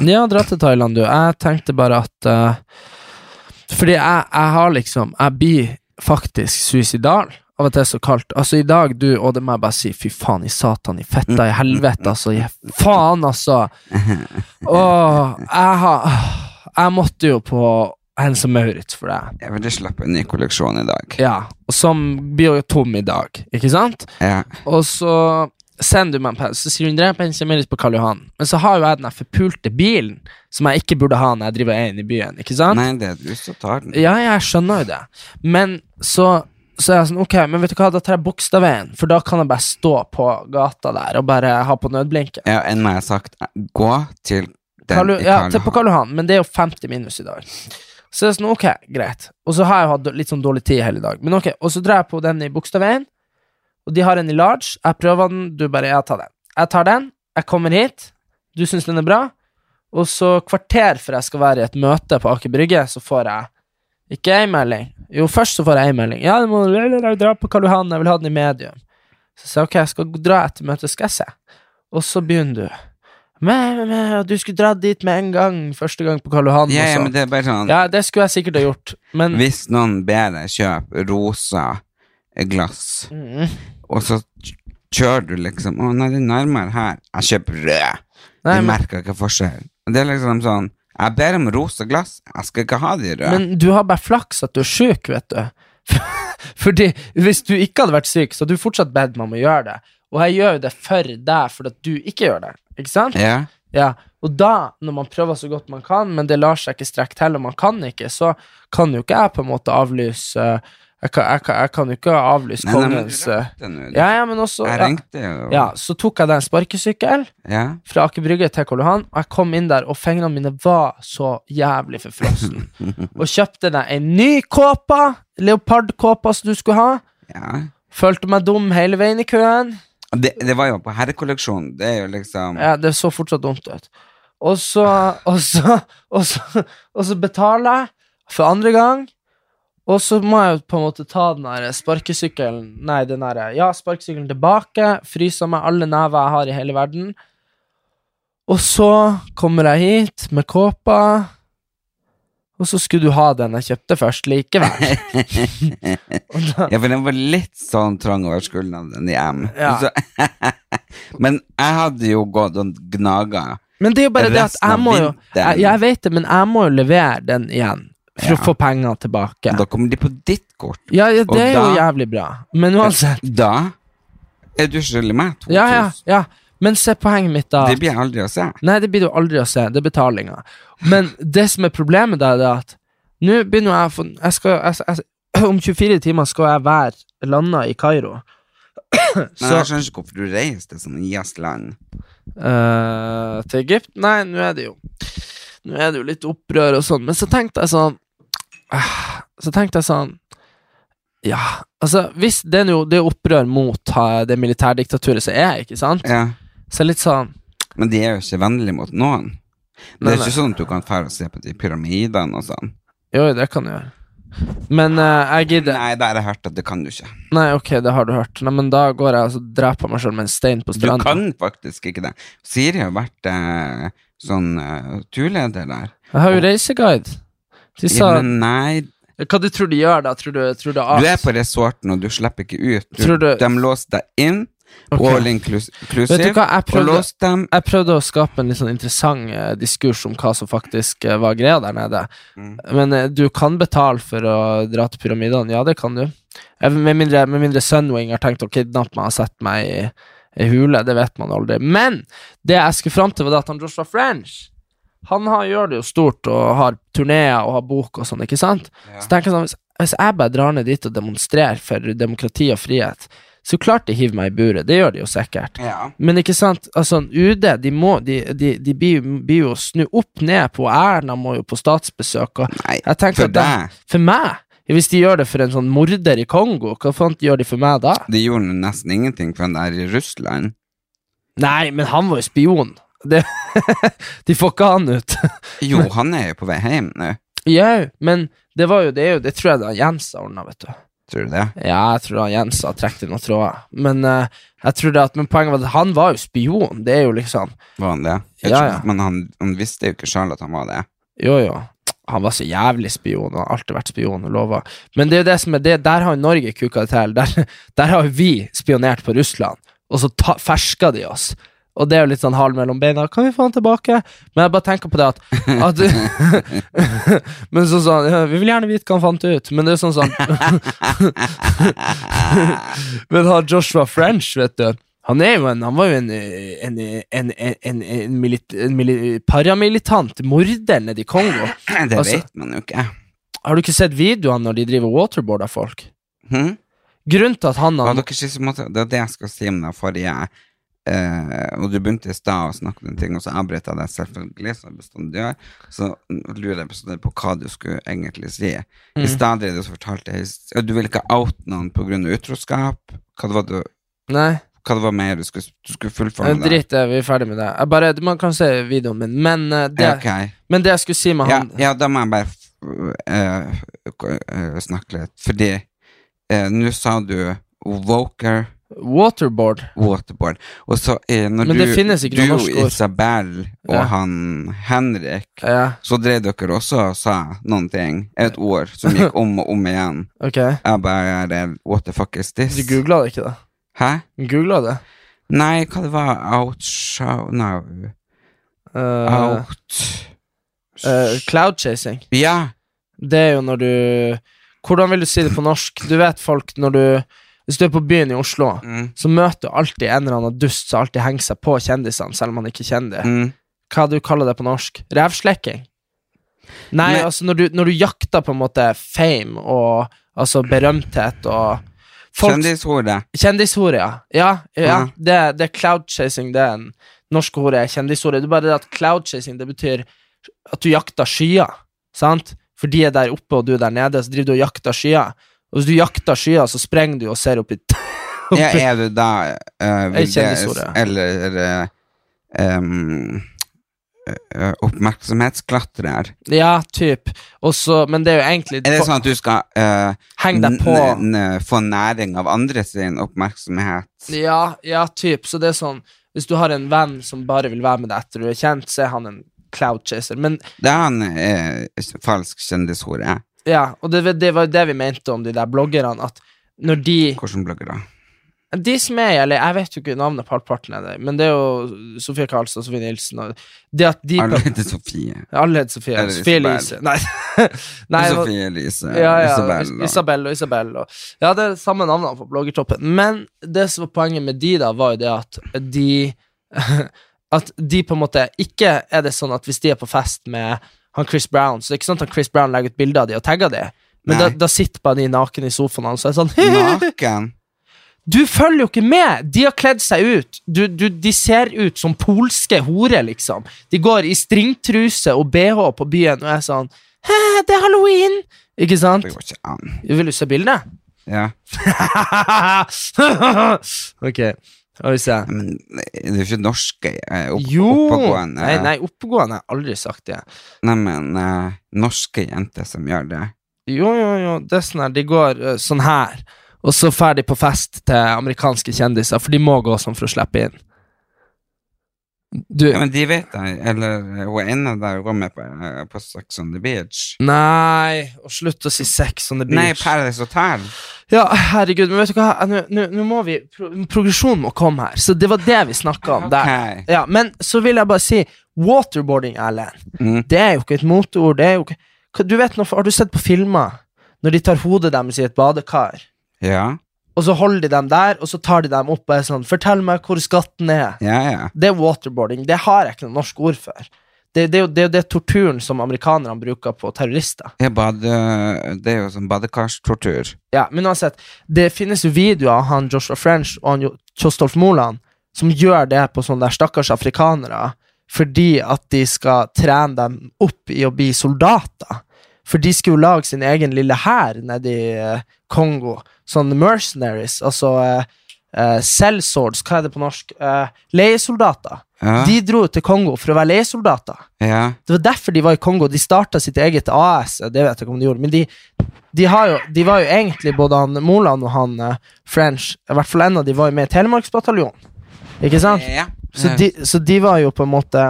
B: Ja, dra til Thailand, du. Jeg tenkte bare at eh, Fordi jeg, jeg har liksom Jeg blir faktisk suicidal av at det er så kaldt. Altså, i dag, du, og det må jeg bare si, fy faen, i satan, i fetta, i helvete, altså, i faen, altså. Åh, jeg har Jeg måtte jo på Hense Maurits for det.
A: Jeg vil slapp en ny kolleksjon i dag.
B: Ja, og som blir jo tom i dag, ikke sant?
A: Ja.
B: Og så sender du meg en pause, så sier hun «Dere, jeg penser meg litt på Karl Johan. Men så har jo jeg den her forpulte bilen, som jeg ikke burde ha når jeg driver inn i byen, ikke sant?
A: Nei, det er du som tar den.
B: Ja, jeg skjønner jo det. Men så, så er jeg sånn, ok, men vet du hva, da tar jeg Bogstadveien, for da kan jeg bare stå på gata der og bare ha på nødblinken.
A: Ja, enn meg har sagt, eh, gå til den
B: Karl,
A: i
B: ja,
A: Karl
B: til på
A: Johan.
B: Karl Johan, men det er jo 50 minus i dag. Så det er sånn, ok, greit. Og så har jeg hatt litt sånn dårlig tid hele dag. Men ok, Og så drar jeg på den i Bogstadveien, og Og de har en i large. Jeg prøver den, du bare Jeg tar den. Jeg tar den, jeg kommer hit, du syns den er bra, og så kvarter før jeg skal være i et møte på Aker Brygge, så får jeg ikke ei melding. Jo, først så får jeg ei melding. Ja, du må dra på Karl Johan, jeg vil ha den i medium. Så sier jeg ok, jeg skal dra etter møtet, skal jeg se. Og så begynner du. Men, men, men, og du skulle dra dit med en gang, første gang på Karl Johan.
A: Ja,
B: og
A: ja,
B: så-
A: men det er bare sånn
B: ja, det skulle jeg sikkert ha gjort, men
A: Hvis noen ber deg kjøpe rosa eh, glass,
B: Mm.
A: og så kj- kjører du liksom Å, nei, det er nærmere her. Jeg kjøper rød.
B: Nei,
A: de
B: men-
A: merker ikke forskjell. Det er liksom sånn Jeg ber om rosa glass, jeg skal ikke ha de røde.
B: Men du har bare flaks at du er syk, vet du. Fordi hvis du ikke hadde vært syk, så hadde du fortsatt bedt meg om å gjøre det. Og jeg gjør jo det for deg, fordi at du ikke gjør det. Ikke sant?
A: Ja.
B: Ja, og da, når man prøver så godt man kan, men det lar seg ikke strekke til, og man kan ikke, så kan jo ikke jeg på en måte avlyse eh, Jeg kan, jeg kan, jeg kan jo ikke avlyse
A: Nei, nei, men
B: kongens
A: du
B: eh,
A: ringte nå.
B: ja, ja, men også,
A: Jeg
B: ja,
A: ringte jo.
B: ja, Så tok jeg deg en sparkesykkel
A: ja.
B: fra Aker Brygge til Karl Johan, og jeg kom inn der, og fingrene mine var så jævlig forfrossen. og kjøpte deg en ny kåpe, leopardkåpa som du skulle ha.
A: ja.
B: Følte meg dum hele veien i køen.
A: Det, det var jo på herrekolleksjonen. Det er jo liksom
B: Ja, det så fortsatt dumt ut. Og så, og så, og så, og så betaler jeg for andre gang, og så må jeg jo på en måte ta den der sparkesykkelen Nei, den der Ja, sparkesykkelen tilbake, fryser meg alle never jeg har i hele verden. Og så kommer jeg hit med kåpa, og så skulle du ha den jeg kjøpte først likevel. og da,
A: Ja, for den var litt sånn trang over skuldrene, den i M.
B: Ja.
A: Så- men jeg hadde jo gått og gnaga.
B: Men det er jo bare det at
A: Resten av
B: jeg må jo
A: vinteren.
B: jeg, jeg vet det, men jeg må jo levere den igjen for å få penger tilbake.
A: Da kommer de på ditt kort.
B: Ja, ja,
A: Og
B: det er jo
A: da-
B: jævlig bra. Men uansett
A: Da er du skyldig meg 2000.
B: Ja, ja, ja. Men se poenget mitt, da.
A: Det blir jeg aldri å se.
B: Nei, det blir du aldri å se. Det er betalinga. Men det som er problemet, da, det er at nå begynner jeg å få jeg skal, jeg, jeg, Om 24 timer skal jeg være landa i Kairo.
A: Men jeg skjønner ikke hvorfor du reiser til sånne gjestland.
B: Eh, til Egypt? Nei, nå er det jo Nå er det jo litt opprør og sånn, men så tenkte jeg sånn ah, Så tenkte jeg sånn Ja, altså, hvis det er jo det er opprør mot eh, det militærdiktaturet som er, ikke sant?
A: Ja.
B: Så litt sånn
A: Men de er jo ikke vennlige mot noen. Det
B: Nei,
A: er
B: nei.
A: ikke sånn at du kan dra og se på de pyramidene og sånn.
B: Jo, det kan du gjøre. Men eh, jeg gidder
A: Nei, det har jeg hørt at det kan du ikke.
B: Nei, ok, det har du hørt. Nei, men da går jeg og så dreper jeg meg sjøl med en stein på
A: Du
B: stranda.
A: kan faktisk ikke det. Siri har vært eh, sånn eh, turleder der.
B: Jeg har jo reiseguide. De sa
A: Ja, men nei,
B: Hva du tror de gjør, da? Tror du, tror du
A: du er på resorten, og du slipper ikke ut. Du,
B: Tror du-
A: De låste deg inn,
B: Ok.
A: all inclus-
B: Vet du
A: inclusive,
B: hva, jeg
A: og
B: prøvde
A: låste dem
B: jeg prøvde å skape en litt sånn interessant eh, diskurs om hva som faktisk eh, var greia der nede. Men eh, du kan betale for å dra til pyramidene. Ja, det kan du. Eh, Med mindre, med mindre Sunwing har tenkt å kidnappe meg og sette meg i ei hule. Det vet man aldri. Men det jeg skulle fram til, var det at han Joshua French han har, gjør det jo stort og har turneer og har bok og sånn, ikke sant? Så tenker jeg sånn, hvis, hvis jeg bare drar ned dit og demonstrerer for demokrati og frihet, så klart de hiver meg i buret. Det gjør de jo sikkert.
A: Ja.
B: Men ikke sant, altså UD, de, må, de, de, de blir, jo- blir jo snu opp ned på Erna, må jo på statsbesøk. Og
A: Nei,
B: jeg tenker
A: for
B: at da-
A: deg.
B: For meg? Hvis de gjør det for en sånn morder i Kongo, hva faen gjør de for meg da?
A: De gjorde nesten ingenting for han der i Russland.
B: Nei, men han var jo spion. Det, de får ikke han ut.
A: Jo, han er jo på vei hjem nå.
B: Jau, men det var jo det, er jo, det tror jeg da Jens har ordna, vet du.
A: Tror du det?
B: Ja, jeg tror da Jens har trukket i noen tråder. Men eh, jeg tror det at, men poenget var at han var jo spion. Det er jo liksom
A: Var han det? Jeg
B: Ja,
A: tror-
B: ja.
A: Men han, han visste jo ikke sjøl at han var det.
B: Jo, jo. Han var så jævlig spion, og har alltid vært spion, og lova. Men det er jo det som er det, der har jo Norge kuka det til. Der, der har jo vi spionert på Russland, og så ta, ferska de oss. Og det er jo litt sånn halen mellom beina. Kan vi få han tilbake? Men jeg bare tenker på det at, at Men sånn sånn ja, Vi vil gjerne vite hva han fant ut, men det er jo sånn sånn Men han Joshua French, vet du han, er jo en, han var jo en, en, en, en, en, en, milit, en mili, paramilitant morder nede i Kongo.
A: Det
B: Altså-
A: vet man jo ikke.
B: Har du ikke sett videoene når de driver waterboard av folk?
A: Hm?
B: Grunnen til at han
A: Var
B: han-
A: dere ikke så måte, det er det jeg skal si om den forrige eh, Og du begynte i stad å snakke om ting, og så avbrøt jeg deg selvfølgelig, som jeg bestandig gjør. Så lurer jeg bestandig på hva du skulle egentlig si.
B: Mm.
A: I stad drev du og fortalte his- og Du ville ikke oute noen pga. utroskap. Hva det var du
B: Nei,
A: Hva det var mer du skulle, du skulle fullføre
B: eh,
A: med det?
B: drit det. Vi er ferdig med det. Jeg bare, man kan se videoen min, men, eh, det,
A: Ja, ok.
B: men det jeg skulle si med
A: ja,
B: han
A: ja, da må jeg bare eh, k- eh, snakke litt. Fordi eh, nå sa du Woker
B: Waterboard
A: Waterboard. Og så eh, når
B: Men
A: du,
B: det finnes ikke noe
A: du
B: norsk ord.
A: Isabel og
B: Ja.
A: han Henrik
B: Ja,
A: så drev dere også og sa noen ting. Et ord som gikk om og om igjen.
B: ok.
A: Jeg bare What the fuck is this?
B: Du googla det ikke, da?
A: Hæ?
B: Googla det?
A: Nei, hva det var Outshow no.
B: Eh,
A: Out
B: eh, cloud chasing.
A: Ja!
B: Det er jo når du Hvordan vil du si det på norsk? Du vet folk når du Hvis du er på byen i Oslo,
A: Mm.
B: så møter du alltid en eller annen dust som alltid henger seg på kjendisene, selv om han ikke kjenner dem.
A: Mm.
B: Hva du kaller det på norsk? Revslekking? Nei,
A: Nei.
B: altså når du, når du jakter på en måte fame og altså berømthet og folk,
A: Kjendishore.
B: Kjendishore, ja. Ja, ja.
A: Ja.
B: Det, det er cloud chasing. Det er en norsk ord er kjendishore. Det er bare det at cloud chasing det betyr at du jakter skyer. Sant? For de er der oppe, og du er der nede, så driver du og jakter skyer. Og hvis du jakter skyer, så sprenger du og ser opp i
A: Ja, er du da eh, vil
B: Jeg kjenner historie.
A: det, Eller eh, em, eh, oppmerksomhetsklatrer.
B: Ja, typ. Og så, men det er jo egentlig
A: Er det sånn at du skal eh,
B: Heng deg
A: n-
B: på.
A: n- n- få næring av andre sin oppmerksomhet?
B: Ja, ja, typ. Så det er sånn Hvis du har en venn som bare vil være med deg etter du er kjent, så er han en cloud chaser. Men
A: Det er en eh, falsk kjendishore.
B: ja, og det, det var jo det vi mente om de der bloggerne, at når de
A: Hvordan blogger da?
B: De som er i LA, jeg vet jo ikke navnet på halvparten av dem, men det er jo Sofie Karlstad, Sofie Nilsen og Det at de
A: Arne heter Sofie.
B: Alle heter Sofie.
A: Eller
B: Sofie
A: Isabel.
B: Elise. Nei. Nei det var-
A: Sofie Elise.
B: ja, ja,
A: Eh, Isabel. da.
B: Isabel og Isabel. Og, ja, det er samme navnene på bloggertoppen. Men det som var poenget med de, da, var jo det at de At de på en måte ikke er det sånn at hvis de er på fest med han Chris Brown, så det er ikke sånn at Chris Brown legger ut bilder av de og tagger de, men da,
A: Nei.
B: da sitter bare de naken i sofaen hans og er sånn
A: Naken.
B: Du følger jo ikke med! De har kledd seg ut. Du, du, de ser ut som polske horer, liksom. De går i stringtruse og bh på byen og er sånn Hæ, det er halloween! Ikke sant?
A: Det går ikke an.
B: Vil du se bildet?
A: Ja.
B: ok, skal vi se.
A: Men det er jo ikke norske eh, opp,
B: Jo!
A: oppegående
B: Nei, nei, oppegående har jeg aldri sagt det.
A: Nei, men eh, norske jenter som gjør det.
B: Jo, jo, jo, det er sånn her, de går eh, sånn her, og så ferdig på fest til amerikanske kjendiser, for de må gå sånn for å slippe inn. Du,
A: Ja, men de vet det. Eller eh, hun ene der går med på, eh, på Sex on the Beach.
B: nei, og slutt å si sex on the
A: Nei,
B: beach.
A: Paradise Hotel.
B: ja, herregud, men vet du hva, nå nå- nå må vi, pro progresjonen må komme her, så det var det vi snakket om der.
A: Ok.
B: Ja, men så vil jeg bare si, waterboarding, Erlend,
A: Mm.
B: Det er jo ikke et moteord. Det er jo ikke... Hva- Du vet, når- har du sett på filmer når de tar hodet deres i et badekar,
A: Ja,
B: og så holder de dem der, og så tar de dem opp og er sånn 'Fortell meg hvor skatten er'.
A: ja, ja.
B: Det er waterboarding. Det har jeg ikke noe norsk ord for. Det, det, er jo- det, er jo det torturen som amerikanerne bruker på terrorister.
A: Jeg bade, det er jo sånn badekarstortur.
B: Ja, Men uansett, det finnes jo videoer av han Joshua French og han Jo- Kjostolf Moland som gjør det på sånne der stakkars afrikanere fordi at de skal trene dem opp i å bli soldater. For de skulle jo lage sin egen lille hær nede i eh, Kongo. Sånne mercenaries, altså eh, eh, cell swords, hva er det på norsk? Eh, leiesoldater.
A: Ja,
B: De dro til Kongo for å være leiesoldater.
A: ja.
B: Det var derfor de var i Kongo. De starta sitt eget AS. Det vet jeg ikke om de gjorde, men de, de, har jo, de var jo egentlig både han Moland og han eh, French I hvert fall en av de var jo med i Telemarksbataljonen. Ikke sant?
A: ja.
B: Så de, så de var jo på en måte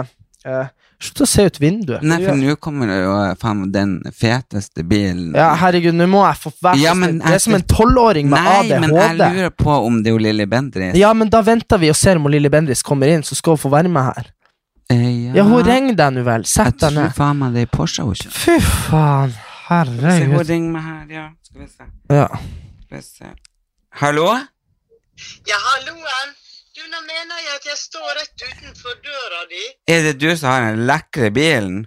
B: eh, Slutt å se ut vinduet.
A: Nei, for nå kommer det jo eh, faen meg den feteste bilen.
B: Ja, herregud, nå må jeg få være
A: Ja,
B: så
A: men
B: snill.
A: jeg-
B: Det er som en tolvåring med
A: Nei, men jeg
B: ADHD.
A: lurer på om det er jo Lilly Bendriss.
B: Ja, men da venter vi og ser om Lilly Bendriss kommer inn, så skal hun få være med her.
A: Eh,
B: Ja, hun ringer deg nå vel.
A: Jeg
B: Sett deg
A: tror
B: ned.
A: faen meg det er Porsche hun kjører.
B: Fy faen.
A: Se, hun
B: Herregud.
A: ringer meg her, ja. Skal vi se.
B: Ja.
A: Skal vi se. Hallo?
C: Ja, halloen. Du, nå mener jeg at jeg står rett utenfor døra di.
A: Er det du som har den lekre bilen?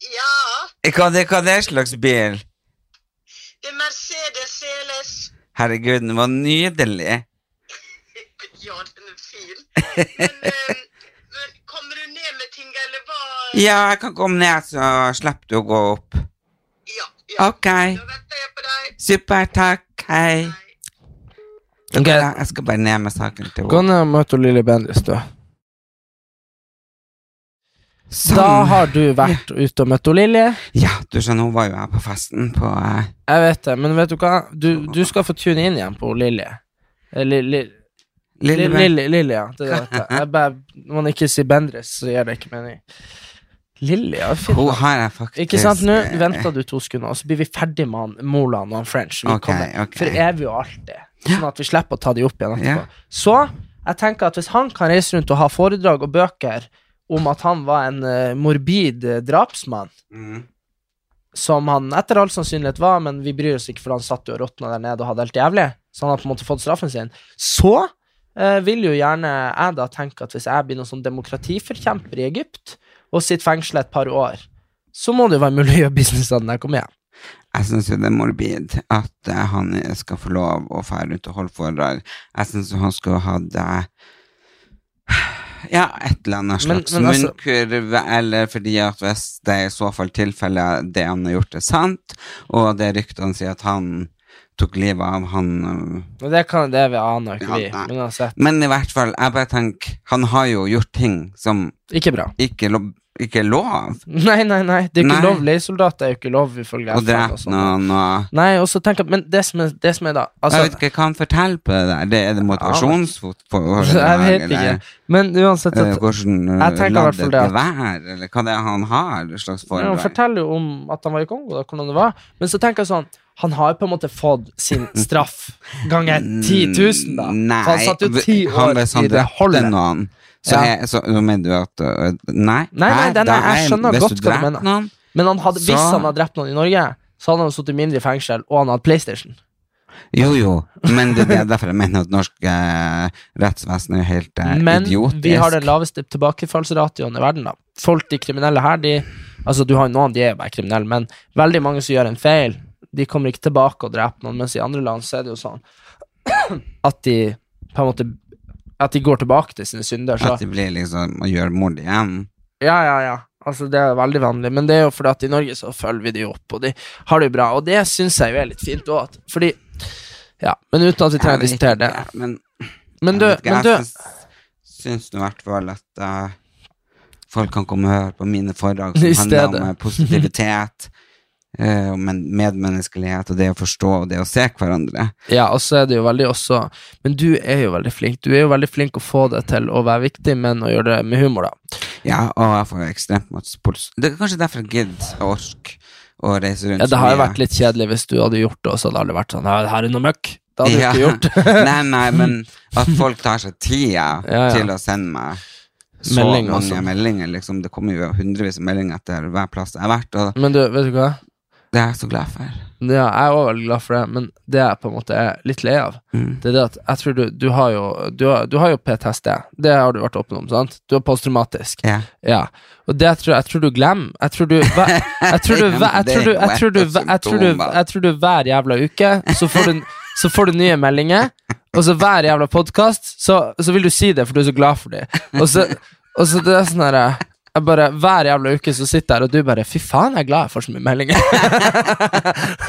C: Ja,
A: Hva det, hva det er slags bil?
C: det er Mercedes CLS.
A: Herregud, den var nydelig.
C: Ja, den er fin. Men, eh, men kommer du ned med ting, eller hva?
A: Ja, jeg kan komme ned, så slipper du å gå opp.
C: Ja. ja.
A: Ok,
C: Da venter jeg på deg.
A: super, takk, hei.
B: Ok.
A: Jeg jeg skal bare ned med saken til
B: Gå
A: henne.
B: ned og møte Lilly Bendriss, du.
A: Sånn.
B: Da har du vært ute og møtt hun Lilly.
A: Ja, du skjønner, hun var jo her på festen på eh,
B: Jeg vet det, men vet du hva? Du, du skal få tune inn igjen på hun Lilly. Eh, Li- Li- Li-
A: Lille-
B: Lilly, Lilly, ja. Det er det. Jeg bare, når man ikke sier Bendriss, så gir det ikke mening. Lilly, ja. fint.
A: Hun har jeg faktisk
B: Ikke sant? Nå
A: eh,
B: venter du to sekunder, og så blir vi ferdig med han, Moland og han French. Vi
A: Ok,
B: kommer
A: ok.
B: For evig og alltid. Sånn at vi slipper å ta de opp igjen etterpå.
A: Ja.
B: Så jeg tenker at hvis han kan reise rundt og ha foredrag og bøker om at han var en eh, morbid eh, drapsmann,
A: Mm.
B: som han etter all sannsynlighet var, men vi bryr oss ikke, for han satt jo og råtna der nede og hadde helt jævlig, så han har på en måte fått straffen sin, så eh, vil jo gjerne jeg da tenke at hvis jeg blir noen sånn demokratiforkjemper i Egypt, og sitter fengsla et par år, så må det jo være mulig å gjøre business av den jeg kommer hjem.
A: Jeg syns jo det er morbid at eh, han skal få lov å fære ut og holde foredrag. Jeg syns han skulle hatt eh, ja, et eller annet
B: Men-
A: slags
B: men altså-
A: munnkurve, eller fordi at hvis det er i så fall tilfellet det han har gjort, er sant, og det ryktene sier at han tok livet av han eh,
B: Men det kan det vi aner ikke
A: Ja,
B: vi.
A: nei.
B: Men uansett,
A: Men i hvert fall, jeg bare tenker Han har jo gjort ting som
B: ikke bra.
A: ikke, lo ikke er lov,
B: Nei, nei, nei. Det er ikke
A: Nei.
B: lov. Leiesoldater er jo ikke lov ifølge
A: og
B: FN.
A: drept
B: Og sånn.
A: noen og
B: Nei, og så tenker jeg Men det som er, det som er da altså,
A: Jeg vet ikke hva han forteller på det der. Det Er det motivasjonsforedrag?
B: Jeg vet ikke. Men uansett
A: Eh,
B: at,
A: Hvordan eh,
B: Jeg tenker i hvert
A: ladd
B: fall
A: et
B: det at-
A: gevær, eller hva det er han har slags
B: Ja, Han
A: foredrag?
B: forteller jo om at han var i Kongo, da, hvordan det var. Men så tenker jeg sånn Han har jo på en måte fått sin straff ganger 10 000, da.
A: Nei,
B: For han satt jo
A: v-
B: ti
A: han,
B: år
A: hvis han
B: i det
A: drepte
B: holdet. Nei,
A: noen, så,
B: Ja.
A: er, så, så mener du at eh, Nei,
B: nei, nei,
A: her,
B: nei
A: da
B: jeg
A: er-
B: skjønner
A: hvis
B: godt hva
A: du
B: du
A: drept
B: mener.
A: noen
B: Men han hadde, hvis
A: så-
B: han hadde drept noen i Norge, så hadde han sittet mindre i fengsel, og han hadde PlayStation.
A: Jo, jo, men det er derfor jeg mener at norsk eh, rettsvesen er jo helt eh,
B: Men
A: idiotisk.
B: vi har den laveste tilbakefallsratioen i verden. da Folk, de kriminelle her, de Altså, du har jo noen, de er jo bare kriminelle, men veldig mange som gjør en feil, de kommer ikke tilbake og dreper noen, mens i andre land så er det jo sånn at de på en måte At de går tilbake til sine synder. Så
A: At det blir liksom å gjøre mord igjen.
B: ja, ja, ja. Altså, det er veldig vanlig, men det er jo fordi at i Norge så følger vi de opp, og de har det jo bra, og det syns jeg jo er litt fint òg, fordi Ja, men uten at vi trenger å
A: Jeg vet
B: diskutere det.
A: ikke, Men
B: Men du,
A: Jeg vet ikke,
B: men du
A: Jeg syns- syns nå i hvert fall at eh, folk kan komme og høre på mine foredrag som
B: I
A: handler
B: stedet.
A: om eh, positivitet, eh, om en medmenneskelighet og det å forstå og det å se hverandre.
B: Ja, og så er det jo veldig også Men du er jo veldig flink. Du er jo veldig flink å få det til å være viktig, men å gjøre det med humor, da.
A: Ja, og jeg får jo ekstremt mye puls. Det er kanskje derfor jeg gidder å orke å reise rundt
B: Ja, det
A: så
B: har jo
A: mye.
B: vært litt kjedelig hvis du hadde gjort det, og så hadde alle vært sånn «Ja, Her er noe møkk. Det hadde du ikke gjort.
A: nei, nei, men at folk tar seg tida
B: Ja, ja.
A: til å sende meg så
B: Melding og
A: mange
B: sånn.
A: meldinger, liksom. Det kommer jo hundrevis av meldinger etter hver plass jeg har vært, og
B: Men du, vet du hva?
A: det er jeg så glad for.
B: Ja, jeg er òg veldig glad for det, men det jeg på en måte er litt lei av,
A: Mm.
B: det er det at jeg tror du, du har jo Du har, du har jo PTSD. Det har du vært åpen om, sant? Du er posttraumatisk.
A: Ja.
B: Ja. Og det jeg tror jeg tror du glemmer Jeg tror du hva- Jeg tror du hva- jeg tror du- jeg tror du- jeg tror du- jeg tror du hver jævla uke så får du, så får du nye meldinger, og så hver jævla podkast så, så vil du si det, for du er så glad for det. Og så, og så det er sånn her jeg bare, Hver jævla uke så sitter jeg her, og du bare 'Fy faen, jeg er glad jeg får så mye meldinger'.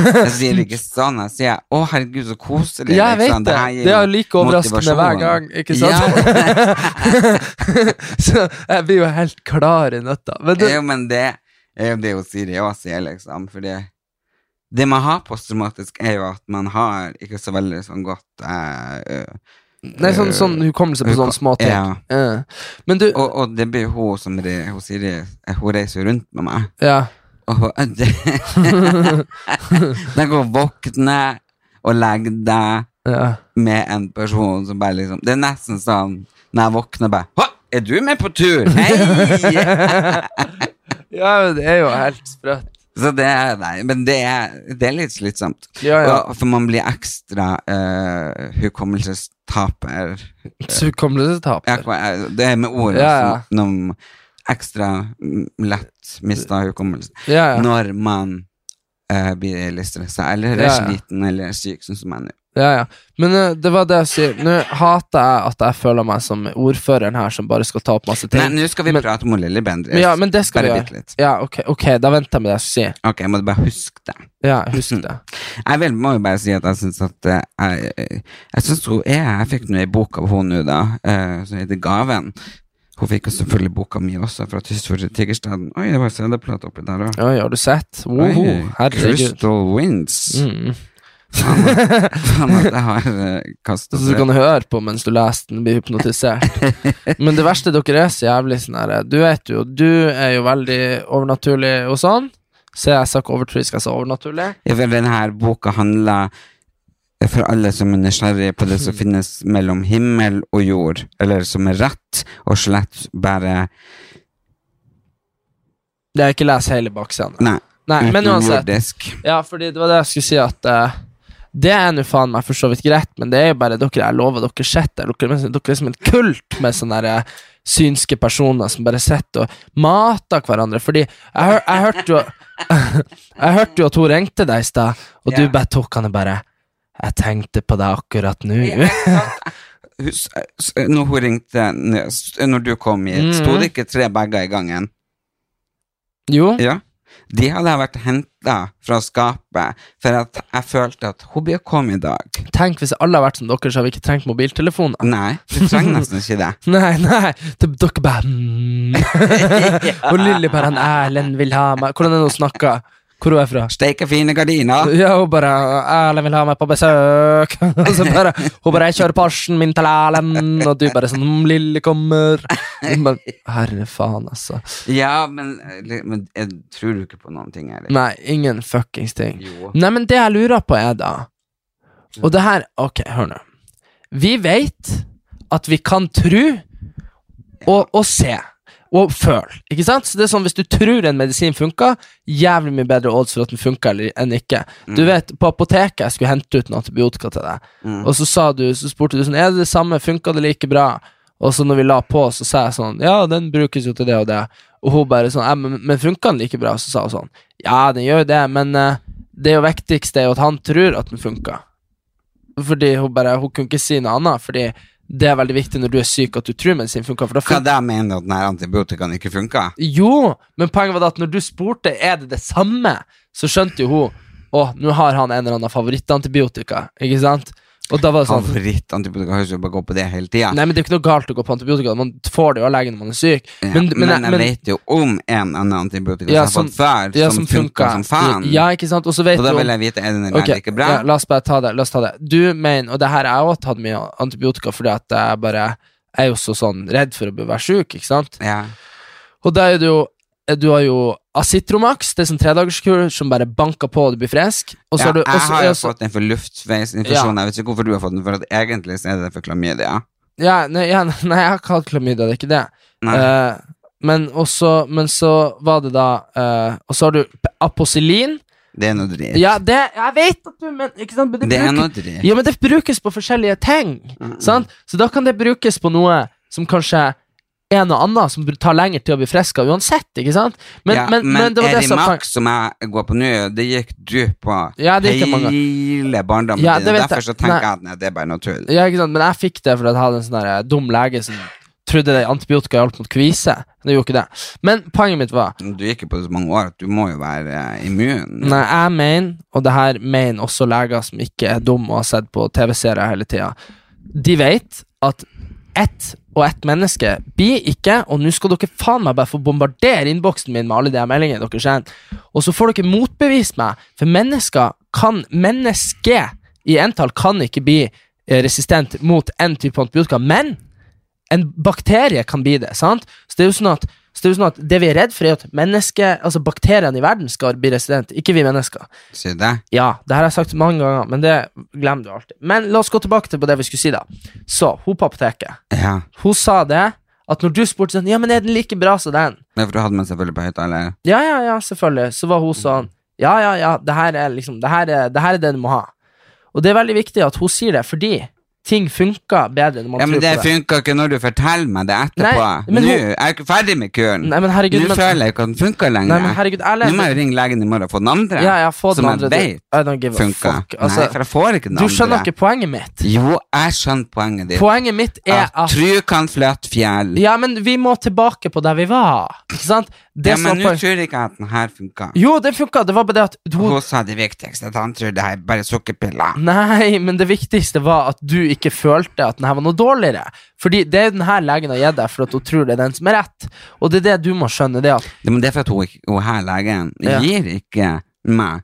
A: Jeg sier ikke sånn, jeg sier 'Å, herregud, så koselig'.
B: Ja, jeg vet
A: liksom.
B: det.
A: her gir
B: Det er
A: jo
B: like overraskende hver
A: motivasjon.
B: gang, ikke sant? så jeg blir jo helt klar i nøtta. Men
A: Ja,
B: det,
A: jo, men det er jo det hun Siri òg sier, liksom. Fordi det man har posttraumatisk, er jo at man har ikke så veldig sånn godt eh, eh,
B: nei, sånn, sånn hukommelse på sånne småting.
A: Ja.
B: Ja. Men du
A: og, og det blir jo hun som re, hun Siri eh, Hun reiser jo rundt med meg.
B: Ja.
A: Og hun det, Den går våkne og legger deg
B: ja.
A: med en person som bare liksom Det er nesten sånn når jeg våkner, bare Hå, er du med på tur? Hei!
B: Ja, men det er jo helt sprøtt.
A: Så det er, nei, men det er, det er litt slitsomt.
B: Ja, ja.
A: Og, for man blir ekstra eh, hukommelsestaper. Ja,
B: Hukommelsestap.
A: hva er- det er med ord
B: Ja, ja.
A: som noen ekstra mm, lett mista hukommelsen.
B: Ja, ja.
A: Når man eh, blir litt stressa, eller
B: Ja,
A: er
B: ja.
A: sliten eller syk, sånn som jeg nå.
B: Ja, ja. Men eh, det var det jeg sier. Nå hater jeg at jeg føler meg som ordføreren her som bare skal ta opp masse
A: Nei,
B: ting.
A: nå skal vi prate om Lilly Bendriss.
B: Men ja, men det skal vi
A: bare
B: gjøre.
A: bitte litt.
B: Ja, ok, ok, da venter jeg med det jeg skal si.
A: Ok, jeg må bare huske det.
B: Ja, husk det.
A: Jeg vil, må jo bare si at jeg syns at eh, Jeg, jeg, jeg synes hun er Jeg fikk nå ei bok av hun nå, da, eh, som heter Gaven. Hun fikk jo selvfølgelig boka mi også, fra Tysfjord til Tigerstaden. Oi, det var CD-plate oppi der òg.
B: Oi, har du sett? Woho, herregud.
A: Crystal Winds.
B: Mm.
A: Sånn at jeg har eh, kastet
B: Så du
A: det.
B: kan høre på mens du leser den, blir hypnotisert. Men det verste dere er så jævlig sånn her Du vet jo, du er jo veldig overnaturlig og sånn. Så jeg sa ikke overtroisk, jeg sa overnaturlig.
A: Ja, for denne her boka handler for alle som er nysgjerrige på det som finnes mellom himmel og jord, eller som er rett og slett bare
B: Det er ikke les hele baksiden.
A: Nei,
B: Nei, men uansett.
A: utenomjordisk.
B: Ja, fordi det var det jeg skulle si at eh, Det er nå faen meg for så vidt greit, men det er jo bare dere jeg lover dere sitter der. Dere, dere er som en kult med sånne der, eh, synske personer som bare sitter og mater hverandre. Fordi jeg, hør, jeg hørte jo Jeg hørte jo at hun ringte deg i stad, og
A: Ja.
B: du bare tok han og bare Jeg tenkte på deg akkurat nå.
A: Hus- s- Når hun ringte n- s- Når du kom
B: Mm.
A: hit, sto det ikke tre bager i gangen?
B: Jo,
A: Ja. De hadde vært henta fra skapet, for at jeg følte at hun bør komme i dag.
B: tenk hvis alle hadde vært som dere, så hadde vi ikke trengt mobiltelefoner.
A: Nei, du trenger nesten ikke det.
B: Nei, nei, det, dere bare mm. Og Lilly bare han Erlend vil ha meg Hvordan er det hun snakker? Hvor hun er fra?
A: Steike fine gardiner.
B: Ja, hun bare 'Erlend vil ha meg på besøk'. Og så bare, hun bare 'Jeg kjører Porschen min til Erlend', og du bare sånn mm, 'Lille kommer'. Hun bare, Herre faen, altså.
A: Ja, men, eh, men jeg tror du ikke på noen ting, Erik?
B: Nei, ingen fuckings ting.
A: Jo.
B: Nei, men det jeg lurer på, er da Og det her Ok, hør nå. Vi vet at vi kan tru og, og se. Og føle. Ikke sant? Så det er sånn, Hvis du tror en medisin funker, jævlig mye bedre odds for at den funker eller- enn ikke. Du vet, På apoteket jeg skulle hente ut noe antibiotika til deg, og så, sa du, så spurte du sånn Er det det samme? Funka det like bra? Og så når vi la på, så sa jeg sånn Ja, den brukes jo til det og det. Og hun bare sånn «Ja, Men, men funka den like bra? Så sa hun sånn Ja, den gjør jo det, men eh, det er jo viktigste er jo at han tror at den funker. Fordi hun bare Hun kunne ikke si noe annet, fordi det er veldig viktig når du er syk at du tror medisin funker, for da
A: Hva
B: funker
A: da mener du at denne antibiotikaen ikke funka?
B: jo, men poenget var det at når du spurte er det det samme, så skjønte jo hun å, nå har han en eller annen favorittantibiotika. Ikke sant? Og da var det sånn
A: Favorittantibiotika høres jo bare gå på det hele tida.
B: Nei, men det er ikke noe galt å gå på antibiotika. Man får det jo av legen når man er syk.
A: Ja,
B: Men, men,
A: jeg vet jo om en annen antibiotika
B: Ja,
A: som jeg har fått
B: som-
A: før,
B: ja,
A: sånn som,
B: som
A: funka
B: funker.
A: som faen.
B: Ja, ikke sant? Og så vet
A: Så da
B: du om-
A: vil jeg vite er den eller
B: Ok,
A: ikke bra.
B: Ja, la oss bare ta det. La oss ta det. Du mener, og det her er jo tatt mye antibiotika fordi at jeg bare jeg er jo så sånn redd for å bli- være syk, ikke sant?
A: Ja.
B: Og da er det jo eh, Du har jo Acitromax, det er sånn tredagerskur som bare banker på og du blir frisk. Og så
A: Ja,
B: har du og
A: jeg
B: så-
A: har jo
B: og så-
A: fått den for luftveisinfeksjon. Jeg vet ikke hvorfor du har fått den, for at egentlig så er det for klamydia.
B: Ja, nei, ja, nei, jeg har ikke hatt klamydia, det er ikke det.
A: Nei.
B: Eh, men, også, men så var det da eh, Og så har du p- aposelin.
A: Det er noe dritt.
B: Ja, det Jeg vet at du men, ikke sant? Men det,
A: det er
B: bruker-
A: noe Mm, dritt.
B: Ja, men det brukes på forskjellige ting. Sant? Så da kan det brukes på noe som kanskje er noe annet, som tar lengre tid å bli frisk av uansett. Ikke sant? Men,
A: Ja,
B: men, men det var det som
A: Erimax, som jeg går på nå, det gikk du på
B: Ja, det gikk jeg mange
A: hele barndommen
B: Ja,
A: din.
B: det vet
A: Derfor så
B: jeg.
A: tenker
B: Nei.
A: jeg at nei, det er bare noe tull.
B: Ja, ikke sant? Men jeg fikk det fordi jeg hadde en sånn der dum lege som trodde det antibiotika hjalp mot kvise. Det gjorde ikke det. Men poenget mitt var
A: Du gikk jo på det så mange år at du må jo være eh, immun.
B: Nei, jeg mener, og det her mener også leger som ikke er dum og har sett på TV-serier hele tida, de vet at ett og ett menneske blir ikke, og nå skal dere faen meg bare få bombardere innboksen min med alle de her meldingene dere sender, og så får dere motbevist meg, for mennesker kan Mennesket i entall kan ikke bli eh, resistent mot en type antibiotika, men en bakterie kan bli det. sant? Så Det er jo sånn at så det, er jo sånn at det vi er redd for, er at menneske, altså bakteriene i verden skal bli resistente, ikke vi mennesker.
A: Sier du det?
B: Ja, det her har jeg sagt mange ganger, men det glemmer du alltid. Men la oss gå tilbake til på det vi skulle si, da. Så, hun på apoteket,
A: Ja.
B: hun sa det at når du spurte sånn Ja, men er den like bra som den?
A: Men for du hadde man selvfølgelig på høyttaler.
B: Ja, ja, ja, selvfølgelig. Så var hun sånn Ja, ja, ja, det her er liksom Det her er det, her er det du må ha. Og det er veldig viktig at hun sier det, fordi ting funker bedre når man
A: Ja, men
B: tror
A: Det
B: på det.
A: funka ikke når du forteller meg det etterpå.
B: Nei, men
A: Nå
B: hun-
A: er jeg ikke ferdig med kuren.
B: Nei, men herregud,
A: Nå
B: men-
A: føler jeg ikke at den funka lenger.
B: Nei, men herregud, jeg
A: Nå må
B: leser
A: jeg jo ringe legen i morgen og få den andre.
B: Ja, jeg har fått
A: som
B: den andre.
A: jeg
B: I don't give
A: vet
B: a
A: funka.
B: fuck. Altså,
A: Nei, for jeg får ikke den
B: du
A: andre.
B: skjønner ikke poenget mitt.
A: Jo, jeg skjønner poenget ditt.
B: Poenget mitt er
A: at
B: at
A: tru kan flytte fjell.
B: Ja, men vi må tilbake på der vi var. Ikke sant? Det
A: ja,
B: som var
A: men nå
B: poen-
A: tror jeg ikke at den her funka.
B: Jo, det funka. Det var bare det at hun
A: Hun sa det viktigste, at han tror det her er bare sukkerpiller.
B: Nei, men det viktigste var at du ikke følte at den her var noe dårligere. Fordi det er jo den her legen har gitt deg for at hun tror det er den som er rett. Og det er det du må skjønne, det at
A: Det, men det er for at hun, ikke- hun her legen
B: Ja.
A: gir ikke meg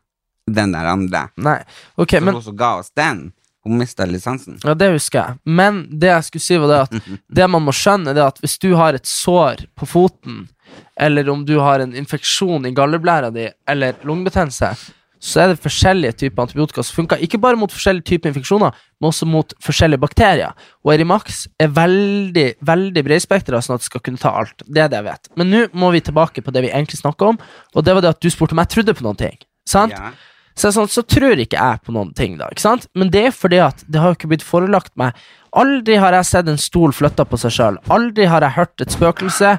A: den der andre.
B: Nei, ok,
A: Så
B: men
A: hun som ga oss den, hun mista lisensen.
B: Ja, det husker jeg. Men det jeg skulle si, var det at det man må skjønne, det er at hvis du har et sår på foten, eller om du har en infeksjon i galleblæra di, eller lungebetennelse, så er det forskjellige typer antibiotika som funker. Ikke bare mot forskjellige typer infeksjoner, men også mot forskjellige bakterier. Og Erimax er veldig veldig bredspektra, sånn at det skal kunne ta alt. Det er det jeg vet. Men nå må vi tilbake på det vi egentlig snakka om, og det var det at du spurte om jeg trodde på noen ting. Sant?
A: Ja.
B: Så, det er sånn, så tror ikke jeg på noen ting, da. ikke sant? Men det er fordi at det har jo ikke blitt forelagt meg. Aldri har jeg sett en stol flytta på seg sjøl. Aldri har jeg hørt et spøkelse.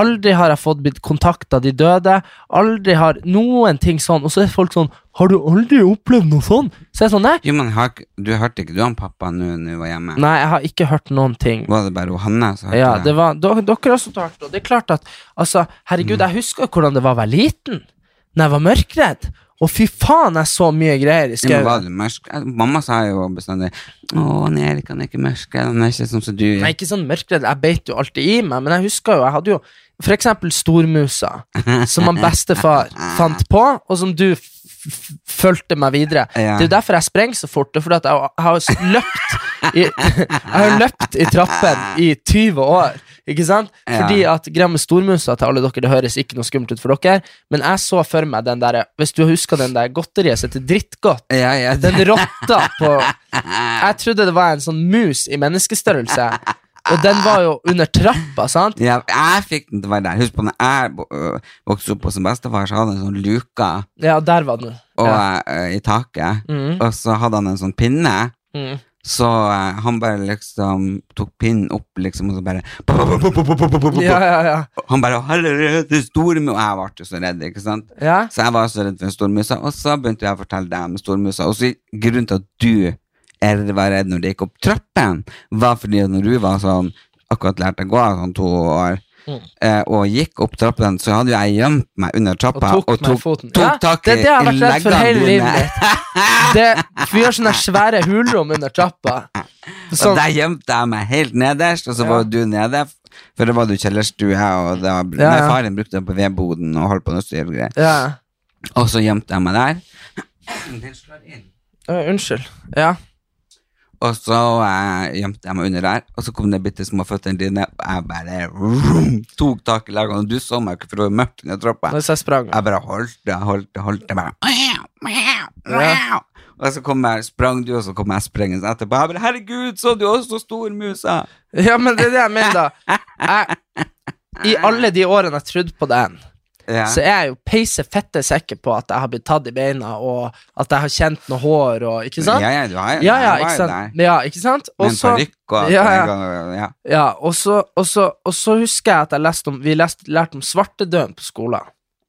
B: Aldri har jeg fått blitt kontakta de døde. Aldri har noen ting sånn. Og så er folk sånn Har du aldri opplevd noe sånn? Så jeg er sånn, nei.
A: Jo, men har, ikke- du hørte ikke du han pappa nå når du var hjemme?
B: Nei, jeg har ikke hørt noen ting.
A: Var det bare hun Hanne som hørte
B: Ja, det
A: det?
B: var, do- dere også tar det, og det er klart at altså, Herregud,
A: Mm.
B: jeg husker jo hvordan det var å være liten. Når jeg var mørkredd. Og fy faen, jeg så mye greier i
A: Ja, men var
B: skauen.
A: det mørk? Eh, Mamma sa jo bestandig Å, han Erik han er ikke mørk, han er ikke sånn som
B: Nei,
A: du er.
B: ikke sånn mørkredd. Jeg beit jo alltid i meg, men jeg husker jo, jeg hadde jo for eksempel stormusa, som han bestefar fant på, og som du f- f- fulgte meg videre.
A: Ja.
B: Det er jo derfor jeg sprenger så fort, det er fordi at jeg har s- løpt i, jeg har løpt i trappen i 20 år. Ikke sant? Fordi at greia med stormusa til alle dere, det høres ikke noe skummelt ut for dere, men jeg så for meg den derre Hvis du husker den der godteriet som heter Drittgodt,
A: Ja, ja, det-
B: den rotta på Jeg trodde det var en sånn mus i menneskestørrelse. Og den var jo under trappa, sant?
A: ja, jeg fikk den til å være der. Husk på når jeg bo- øh, vokste opp hos bestefar, så hadde han en sånn luka
B: Ja, der var den.
A: og,
B: Ja.
A: eh, i taket,
B: Mm,
A: og så hadde han en sånn pinne.
B: mm.
A: Så eh, han bare liksom tok pinnen opp, liksom, og så bare
B: Ja, ja, ja.
A: Han bare «Herregud, det er stormus!» Og jeg ble jo så redd, ikke sant?
B: ja.
A: Så jeg var så redd for stormusa, og så begynte jeg å fortelle deg om stormusa. Og så grunnen til at du er, var redd når det gikk opp trappen, var fordi at når du var sånn, akkurat lærte å gå, sånn to år,
B: Mm.
A: eh, og gikk opp trappen, så hadde jo jeg gjemt meg under
B: Og
A: trappa,
B: tok meg i foten. Ja,
A: tak
B: det er det jeg har
A: i
B: vært redd for
A: leggene
B: hele
A: dine.
B: livet mitt. Det, vi har sånne svære hulrom under trappa.
A: Og
B: Sånn,
A: der gjemte jeg meg helt nederst, og så
B: Ja.
A: var du nede. For da var du i kjellerstua, og da,
B: Ja, ja.
A: nei, faren brukte den på vedboden og holdt på med styr og greier.
B: ja.
A: Og så gjemte jeg meg der. Den slår inn.
B: Ø, Unnskyld. Ja.
A: Og så eh, gjemte jeg meg under der, og så kom de bitte små føttene dine, og jeg bare vroom, tok tak i lagene, og du så meg ikke, for det var mørkt under trappa.
B: Hvis jeg sprang.
A: Jeg bare holdt det, holdt det, holdt det, bare «Meow, meow, meow». Og så kom jeg, sprang du, og så kom jeg sprengende etterpå. Jeg bare, herregud, så du også stor musa?
B: Ja, men det er det jeg mener, da. Jeg, I alle de årene jeg trodde på den,
A: Ja.
B: så er jeg jo peise fette sikker på at jeg har blitt tatt i beina, og at jeg har kjent noe hår, og ikke sant?
A: Ja, ja, du har jo
B: ja, ja,
A: jeg var
B: ikke
A: jo
B: sant?
A: der.
B: Ja, ikke sant? Og
A: Med en
B: så-
A: parykk og
B: Ja,
A: en
B: ja.
A: gang- ja.
B: Ja, og så, og, så, og så husker jeg at jeg leste om, vi leste, lærte om svartedøden på skolen.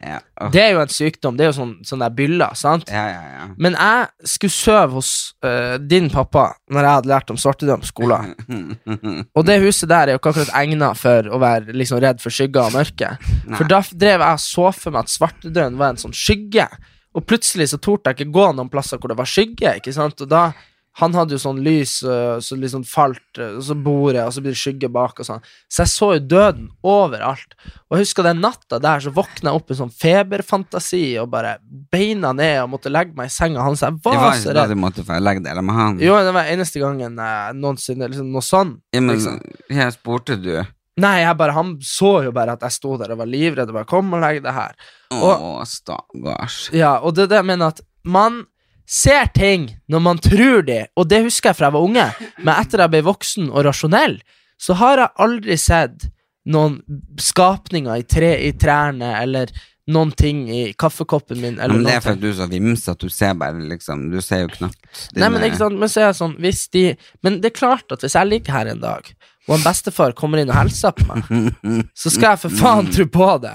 A: Ja. Åh,
B: Det er jo en sykdom, det er jo sånn, sånn der byller, sant?
A: Ah. ja, ja, ja.
B: Men jeg skulle sove hos eh, din pappa når jeg hadde lært om svartedøden på skolen. Og det huset der er jo ikke akkurat egna for å være liksom redd for skygger og mørke. For da f- drev jeg og så for meg at svartedøden var en sånn skygge, og plutselig så torde jeg ikke gå noen plasser hvor det var skygge. ikke sant? Og da, Han hadde jo sånn lys øh, som liksom falt, øh, og så bordet, og så blir det skygge bak. og sånn. Så jeg så jo døden overalt. Og jeg husker den natta der så våkna jeg opp i sånn feberfantasi og bare beina ned og måtte legge meg i senga hans. Jeg
A: Det
B: var,
A: var
B: så
A: ikke da
B: redd.
A: du måtte få legge deg med han.
B: Jo, det var eneste gangen eh, noensinne liksom, noe sånn.
A: ja, men,
B: liksom.
A: jeg spurte du.
B: Nei, jeg bare, han så jo bare at jeg sto der og var livredd. og bare, kom og legg det her.
A: Å, stakkars.
B: Ja, og det er det jeg mener at man ser ting når man tror de, og det husker jeg fra jeg var unge, men etter jeg ble voksen og rasjonell, så har jeg aldri sett noen skapninger i, tre, i trærne eller noen ting i kaffekoppen min. Eller
A: men det
B: noen
A: er for
B: ting.
A: at du er så vimsete at du ser bare liksom Du ser jo knapt
B: Nei, men ikke sant, men så er jeg sånn hvis de, Men det er klart at hvis jeg ligger her en dag, og en bestefar kommer inn og hilser på meg, så skal jeg for faen tro på det.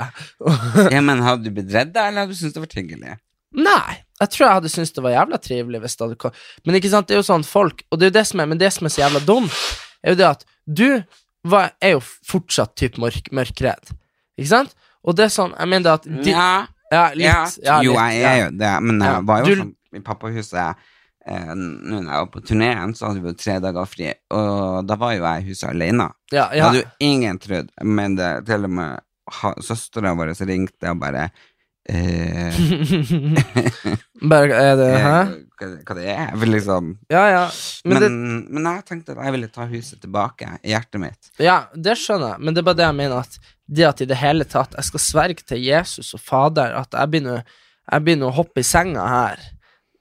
A: Ja, men hadde du blitt redd, da, eller hadde du syntes det var hyggelig?
B: Nei, jeg tror jeg hadde syntes det var jævla trivelig hvis det hadde kom- Men ikke sant, det er jo sånn folk Og det er jo det som er, men det som er så jævla dumt, er jo det at du var, er jo fortsatt typ mørk, mørkredd. Ikke sant? Og det er sånn, jeg mener det at de,
A: Ja,
B: Ja, litt.
A: ja.
B: ja, litt,
A: jo, jeg er
B: ja.
A: jo det, men
B: Ja,
A: jeg var jo
B: du-
A: sånn i pappahuset eh, Nå når jeg var på turneen, så hadde vi jo tre dager fri, og da var jo jeg i huset alene.
B: Ja,
A: Det
B: ja.
A: hadde jo ingen trodd, men det, til og med ha- søstera vår ringte og bare eh,
B: Bare, er det, hæ?
A: eh, hva, hva det er for liksom
B: Ja, ja. Men,
A: men,
B: det,
A: men, jeg tenkte at jeg ville ta huset tilbake i hjertet mitt.
B: ja, det skjønner jeg, men det er bare det jeg mener at det at i det hele tatt jeg skal sverge til Jesus og Fader at jeg begynner, jeg begynner å hoppe i senga her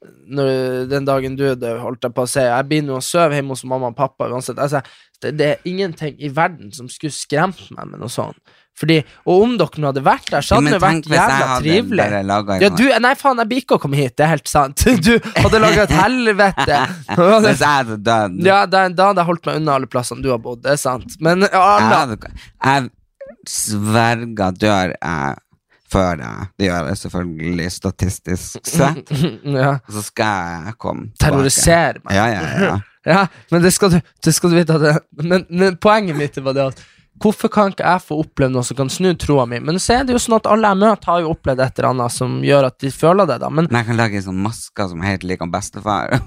B: når, den dagen du døde, holdt jeg på å si. Jeg begynner å sove hjemme hos mamma og pappa uansett. Altså, det, det er ingenting i verden som skulle skremt meg med noe sånt. Fordi, og om dere nå hadde vært der, så
A: Ja,
B: hadde det
A: tenk
B: vært
A: hvis jeg
B: jævla
A: hadde
B: trivelig.
A: bare laget
B: Ja,
A: en- sånn-
B: du, nei, faen, jeg blir ikke å komme hit, det er helt sant. Du hadde laga et helvete.
A: Hvis jeg hadde dødd
B: Ja, da, da hadde jeg holdt meg unna alle plassene du har bodd, det er sant. Men ja,
A: Jeg,
B: alle
A: hadde- jeg sverger dør jeg før jeg Det gjør jeg selvfølgelig statistisk sett.
B: ja,
A: Og så skal jeg komme tilbake.
B: terrorisere meg.
A: Ja, ja, ja.
B: Ja, men det skal du, det skal du vite at det, men, men poenget mitt var det at Hvorfor kan ikke jeg få oppleve noe som kan snu troa mi? Men så er det jo sånn at alle jeg møter, har jo opplevd et eller annet som gjør at de føler det, da. Men
A: Men jeg kan lage en sånn maske som er helt lik han bestefar.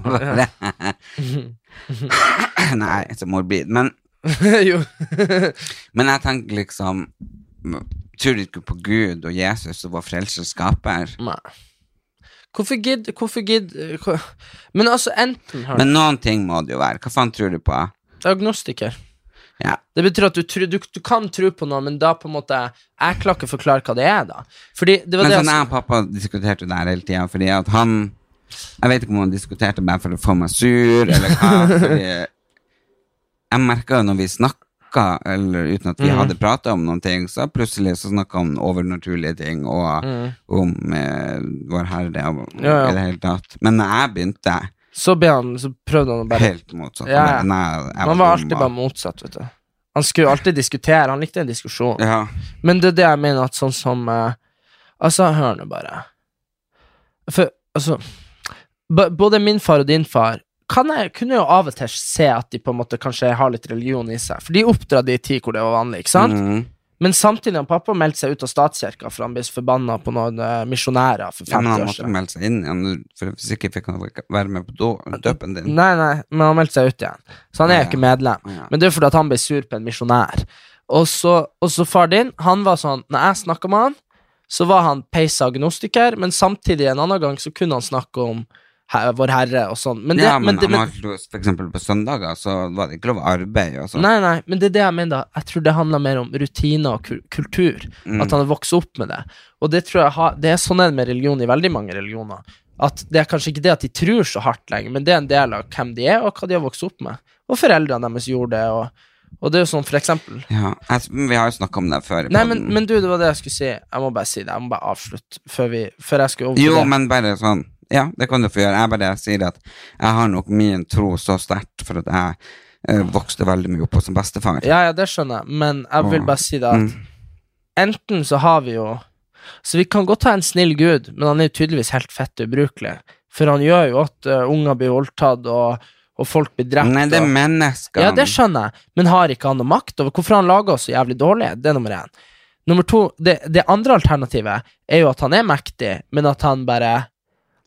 A: Nei, så morbid. Men,
B: jo.
A: men jeg tenker liksom Tror du ikke på Gud og Jesus og vår frelser skaper?
B: Nei. Hvorfor gidd Hvorfor gidd hvor- Men altså, enten har du
A: Men noen ting må det jo være. Hva faen tror du på?
B: Agnostiker.
A: Ja.
B: Det betyr at du, tru, du, du kan tro på noe, men da på en måte Jeg klarer ikke å forklare hva det er, da. Fordi det var
A: Men
B: det
A: sånn,
B: jeg-
A: jeg og pappa diskuterte det her hele tida, fordi at han Jeg vet ikke om han diskuterte bare for å få meg sur, eller hva. Fordi jeg merka jo når vi snakka, eller uten at vi
B: Mm.
A: hadde prata om noen ting, så plutselig så snakka han om overnaturlige ting, og om eh, Vår Herre og, og
B: Mm. Ja, ja.
A: i det hele tatt. Men når jeg begynte
B: Så, ble han, så prøvde han å bare
A: helt motsatt.
B: Ja, ja.
A: Nei, jeg
B: Han var
A: dum,
B: alltid bare
A: og-
B: motsatt, vet du. Han skulle alltid diskutere, han likte en diskusjon.
A: ja.
B: Men det er det jeg mener at sånn som eh, Altså, hør nå bare. For altså b- Både min far og din far kan jeg, kunne jo av og til se at de på en måte kanskje har litt religion i seg. For de oppdradde i en tid hvor det var vanlig, ikke sant?
A: Mhm.
B: Men samtidig har pappa meldt seg ut av statskirka, for han ble så forbanna på noen eh, misjonærer for
A: Ja, men
B: 50
A: han
B: år
A: måtte
B: siden.
A: melde seg inn igjen, for hvis ikke fikk han ikke være med på då- døpen din.
B: Nei, nei, men han meldte seg ut igjen, så han
A: Ja,
B: er
A: ja.
B: ikke medlem.
A: Ja.
B: Men det er fordi at han ble sur på en misjonær. Og så, og så far din, han var sånn Når jeg snakka med han, så var han peisa agnostiker, men samtidig en annen gang så kunne han snakke om he- Vår Herre og sånn. Men det,
A: ja, men,
B: men det,
A: han
B: men,
A: var ikke lov- for eksempel på søndager så var det ikke lov å arbeide og sånn.
B: Nei, nei, men det er det jeg mener. da. Jeg tror det handler mer om rutiner og kul kultur.
A: Mm.
B: At han har vokst opp med det. Og det tror jeg har, det er sånn er det med religion i veldig mange religioner. At Det er kanskje ikke det at de tror så hardt lenger, men det er en del av hvem de er, og hva de har vokst opp med. Og foreldrene deres gjorde det. Og, og det er jo sånn, for eksempel
A: Ja, jeg, men vi har jo snakka om det før. i
B: Nei, men,
A: podden.
B: men du, det var det jeg skulle si. Jeg må bare si det. Jeg må bare avslutte før, vi, før jeg skulle over til
A: jo,
B: det.
A: men bare sånn Ja, det kan du få gjøre. Jeg bare sier at jeg har nok min tro så sterkt for at jeg eh, vokste veldig mye opp hos en bestefar.
B: Ja, ja, det skjønner jeg, men jeg vil bare si det
A: Mm.
B: at enten så har vi jo Så vi kan godt ha en snill gud, men han er jo tydeligvis helt fett ubrukelig. For han gjør jo at eh, unger blir voldtatt, og, og folk blir drept.
A: Nei, det er
B: og,
A: mennesker.
B: ja, det skjønner jeg, men har ikke han noe makt over hvorfor han lager oss så jævlig dårlige? Det er nummer én. Nummer to, det, det andre alternativet er jo at han er mektig, men at han bare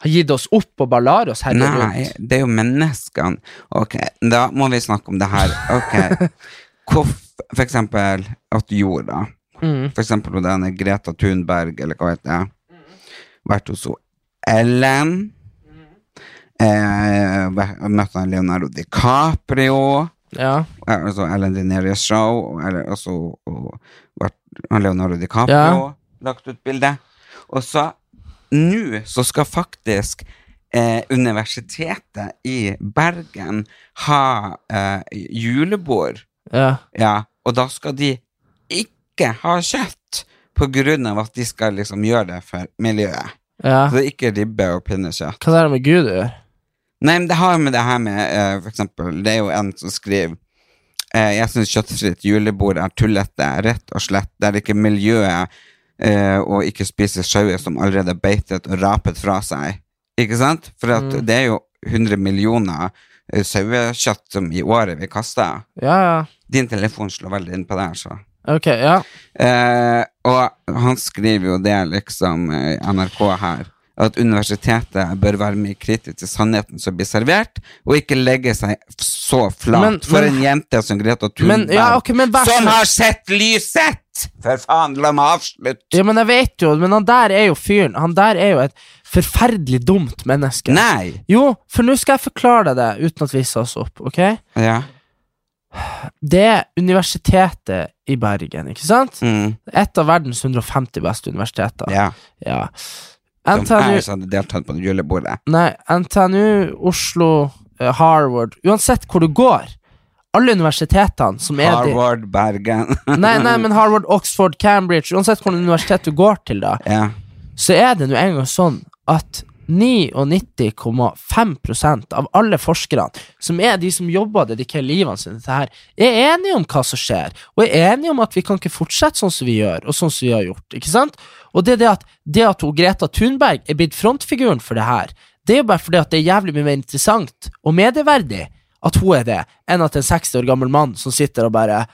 B: har gitt oss opp og bare lar oss herje
A: Nei,
B: rundt.
A: det er jo menneskene. Ok, da må vi snakke om det her. Ok, Hvorf- For eksempel at jorda
B: Mm.
A: For eksempel på denne Greta Thunberg, eller hva heter det? Vært hos hun Ellen. Eh, væ- møtt han Leonardo DiCaprio.
B: Ja.
A: eh, Altså Ellen DeNeres show. og- Eller også og, vært han Leonardo DiCaprio. Lagt ut bilde. Og så Nå så skal faktisk eh, Universitetet i Bergen ha eh, julebord.
B: ja.
A: Ja, og da skal de ikke ha kjøtt på grunn av at de skal liksom gjøre det for miljøet.
B: Ja.
A: Så det er ikke ribbe og pinnekjøtt.
B: Hva er det med Gud å gjøre?
A: Nei, men det har med det her med eh, For eksempel, det er jo en som skriver eh, Jeg syns kjøttfritt julebord er tullete, rett og slett. Det er ikke miljøet eh, å ikke spise sauer som allerede er beitet og rapet fra seg. Ikke sant? For at
B: Mm.
A: det er jo 100 millioner eh, sauekjøtt som i året vi kaster.
B: Ja, ja.
A: Din telefon slår veldig inn på det her, så.
B: Ok, ja.
A: Eh, og han skriver jo det liksom eh, i NRK her, at universitetet bør være mer kritisk til sannheten som blir servert, og ikke legge seg f- så flat
B: Men-
A: for
B: men-
A: en jente som Greta Thunberg,
B: Men, ja, ok, men vær så-
A: som har sett lyset! For faen, la meg avslutte!
B: ja, men jeg vet jo, men han der er jo fyren. Han der er jo et forferdelig dumt menneske.
A: Nei!
B: Jo, for nå skal jeg forklare deg det, uten at vi sa oss opp, ok?
A: Ja.
B: Det er universitetet i Bergen, ikke sant?
A: Mm,
B: Et av verdens 150 beste universiteter.
A: ja.
B: Ja.
A: Som sånn. jeg
B: NTNU,
A: som hadde deltatt på det julebordet.
B: nei, NTNU, Oslo, eh, Harvard Uansett hvor du går, alle universitetene som er de
A: Harvard, Bergen
B: Nei, nei, men Harvard, Oxford, Cambridge Uansett hvilket universitet du går til, da,
A: Ja.
B: så er det nå engang sånn at 99,5 av alle forskerne, som er de som jobber og dedikerer livene sine til det her, er enige om hva som skjer, og er enige om at vi kan ikke fortsette sånn som vi gjør, og sånn som vi har gjort. ikke sant? Og det er det at, det at hun Greta Thunberg er blitt frontfiguren for det her, det er jo bare fordi at det er jævlig mye mer interessant og medieverdig at hun er det, enn at en 60 år gammel mann som sitter og bare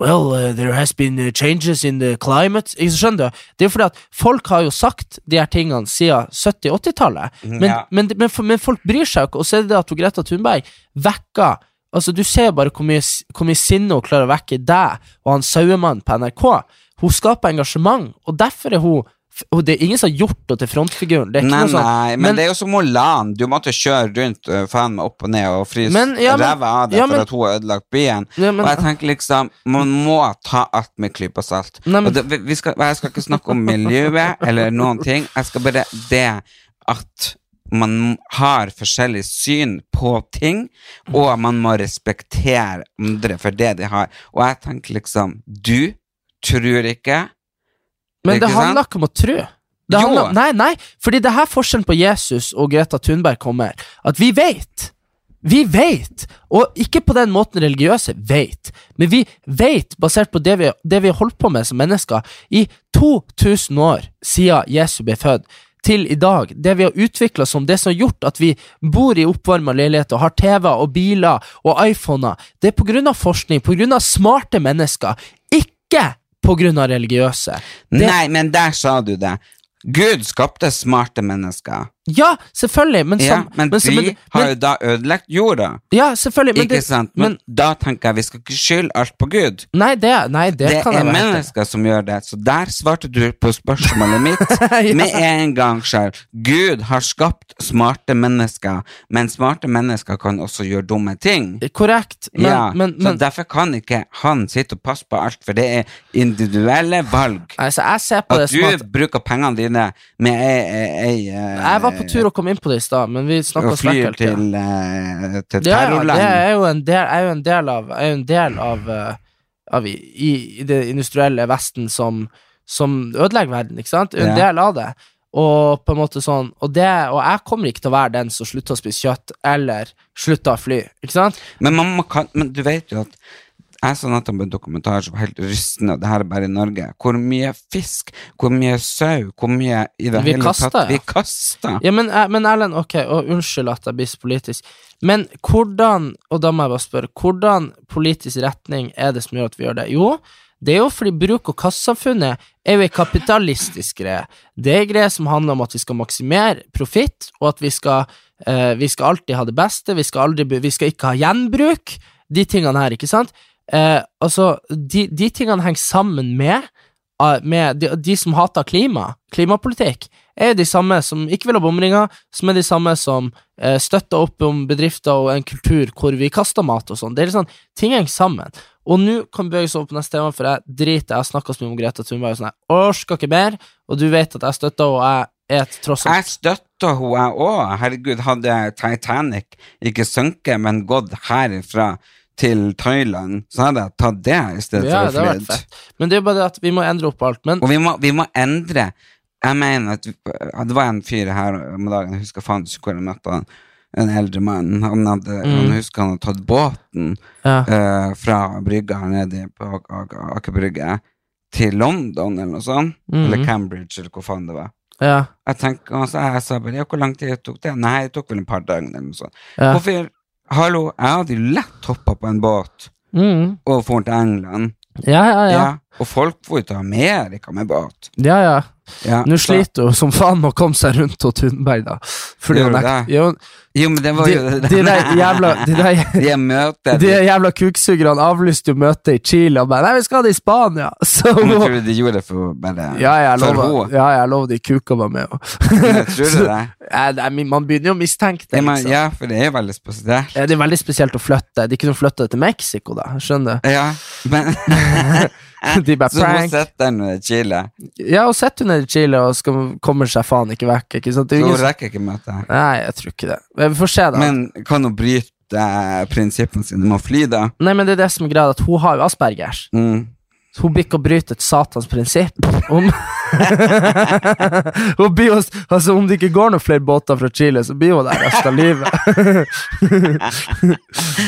B: Well, uh, there has been uh, changes in the climate Ikke så skjønner du? Det er jo fordi at folk har jo sagt de her tingene siden 70-80-tallet, men,
A: Mhm, Ja.
B: men, men, for- men folk bryr seg jo ikke, og så er det det at hun Greta Thunberg vekker Altså, du ser jo bare hvor mye, s- hvor mye sinne hun klarer å vekke i deg og han sauemannen på NRK. Hun skaper engasjement, og derfor er hun f- og det er ingen som har gjort henne til frontfiguren. Det er ikke
A: Nei,
B: noe sånn,
A: nei, men, det er jo som Molan. Du måtte kjøre rundt øh, faen meg opp og ned og fryse
B: Men- ja, men-
A: ræva av deg
B: ja, men-
A: for at hun har ødelagt byen.
B: Ja, men-
A: og jeg tenker liksom, man må ta alt med klype salt.
B: Nei, men-
A: og det, vi- vi skal, jeg skal ikke snakke om miljøet eller noen ting. Jeg skal bare det at man har forskjellig syn på ting, og man må respektere andre for det de har. Og jeg tenker liksom, du tror ikke
B: Men det
A: ikke sant?
B: handler ikke om å tro. Det
A: Jo.
B: handler, nei, nei, fordi det her forskjellen på Jesus og Greta Thunberg kommer, at vi vet. Vi vet, og ikke på den måten religiøse vet, men vi vet, basert på det vi, det vi har holdt på med som mennesker, i 2000 år siden Jesus ble født, til i dag, det vi har utvikla som det som har gjort at vi bor i oppvarma leiligheter og har TV og biler og iPhoner, det er på grunn av forskning, på grunn av smarte mennesker, ikke på grunn av religiøse. Det-
A: Nei, men der sa du det. Gud skapte smarte mennesker.
B: Ja, selvfølgelig, men, som,
A: ja, men,
B: men som-
A: de
B: men-
A: har jo
B: men-
A: da ødelagt jorda.
B: Ja, selvfølgelig, men
A: ikke
B: det-
A: sant? Men, da tenker jeg vi skal ikke skylde alt på Gud.
B: Nei, det, nei, det,
A: Det,
B: kan jeg
A: er
B: være helt enig i.
A: mennesker som gjør det. Så der svarte du på spørsmålet mitt
B: Ja.
A: med en gang selv. Gud har skapt smarte mennesker, men smarte mennesker kan også gjøre dumme ting.
B: Korrekt, men,
A: ja,
B: men,
A: så
B: men
A: Derfor kan ikke han sitte og passe på alt, for det er individuelle valg.
B: altså, Jeg ser på det
A: At
B: som at
A: du bruker pengene dine med ei, ei, ei eh,
B: Jeg var på tur og kom inn på det i stad, men vi snakka
A: og
B: oss vekk
A: flyr
B: helt
A: til, eh, til
B: Ja, ja, det
A: terrorland.
B: er jo en del, er jo en del av, er jo en del av, eh, av i, i- i det industrielle Vesten som, som ødelegger verden, ikke sant? Er jo En
A: Ja.
B: del av det. Og på en måte sånn og, det, og jeg kommer ikke til å være den som slutter å spise kjøtt, eller slutter å fly, ikke sant?
A: Men, mamma kan, men du vet jo at jeg så nettopp en dokumentar som var helt rystende, og det her er bare i Norge. Hvor mye fisk, hvor mye sau, hvor mye i det
B: Vi
A: hele
B: kaster,
A: tatt
B: ja.
A: vi kaster.
B: Ja, men, eh, men Erlend, ok, og unnskyld at jeg blir så politisk, men hvordan, og da må jeg bare spørre, hvordan politisk retning er det som gjør at vi gjør det? Jo, det er jo fordi bruk- og kastsamfunnet er jo en kapitalistisk greie. Det er en greie som handler om at vi skal maksimere profitt, og at vi skal, eh, vi skal alltid ha det beste, vi skal, aldri, bu- vi skal ikke ha gjenbruk, de tingene her, ikke sant? Eh, altså, de, de tingene henger sammen med av- eh, med de, de som hater klima, klimapolitikk, er de samme som ikke vil ha bomringer, som er de samme som eh, støtter opp om bedrifter og en kultur hvor vi kaster mat og sånn. Det er litt sånn, Ting henger sammen. Og nå kan vi bevege oss over på neste tema, for jeg driter. Jeg har snakka så mye om Greta Thunberg, og sånn, jeg orker ikke mer, og du vet at jeg støtter henne, og jeg er et tross alt
A: Jeg støtter henne, jeg òg. Herregud, hadde Titanic ikke sunket, men gått herifra til Thailand, så hadde jeg tatt det i stedet
B: Ja, det
A: for
B: har
A: å
B: vært
A: flydd.
B: fett. Men det er jo bare det at vi må endre opp alt. Men
A: Og vi må, vi må endre Jeg mener at ja, Det var en fyr her om dagen, jeg husker faen ikke hvor jeg møtte han. En eldre mann. Han, hadde,
B: Mm.
A: han husker han hadde tatt båten
B: ja.
A: eh, fra brygga her nede på A- A- Aker Brygge til London eller noe sånt.
B: Mhm.
A: Eller Cambridge, eller hvor faen det var.
B: Ja.
A: Jeg tenker, og så jeg sa bare, ja, hvor lang tid tok det? Nei, det tok vel et par døgn eller noe sånt.
B: Ja.
A: Hvorfor, hallo, jeg hadde jo lett hoppet på en båt
B: Mm.
A: og for til England.
B: ja, ja, ja.
A: Og folk får jo til Amerika med båt.
B: ja, ja.
A: Ja,
B: Nå
A: så-
B: sliter hun som faen med å komme seg rundt til Thunberg, da. Fordi
A: Gjør
B: hun
A: du
B: nekt-
A: det?
B: jo,
A: Jo, men det var
B: de,
A: jo det.
B: de der jævla De der
A: De er møtet.
B: de jævla kuksugerne avlyste jo møtet i Chile og bare 'Nei, vi skal ha det i Spania!' Så
A: Men
B: hun
A: tror du de gjorde det for bare
B: Ja, jeg
A: for
B: lover,
A: henne?
B: ja, jeg lover de kuka var med.
A: Men jeg tror du det?
B: Nei, det er min- Man begynner jo å mistenke
A: Ja,
B: det.
A: men,
B: Liksom.
A: ja, for det er veldig spesielt.
B: Ja, Det er veldig spesielt å flytte. De kunne flytte til Mexico, da. Skjønner du?
A: Ja, men
B: De bare
A: Så hun
B: prank.
A: setter den i Chile,
B: Ja, og sitter hun nede i Chile og skal, kommer seg faen ikke vekk. Ikke sant? Det er
A: så
B: ingen
A: hun
B: som-
A: rekker ikke møtet.
B: Nei, jeg tror ikke det. Men Vi får se, da.
A: Men kan hun bryte eh, prinsippene sine med å fly, da?
B: Nei, men det er det som er greia, at hun har jo aspergers.
A: Mm.
B: Så Hun blir ikke å bryte et satans prinsipp. Om, hun blir jo, altså, om det ikke går noen flere båter fra Chile, så blir hun der resten av livet.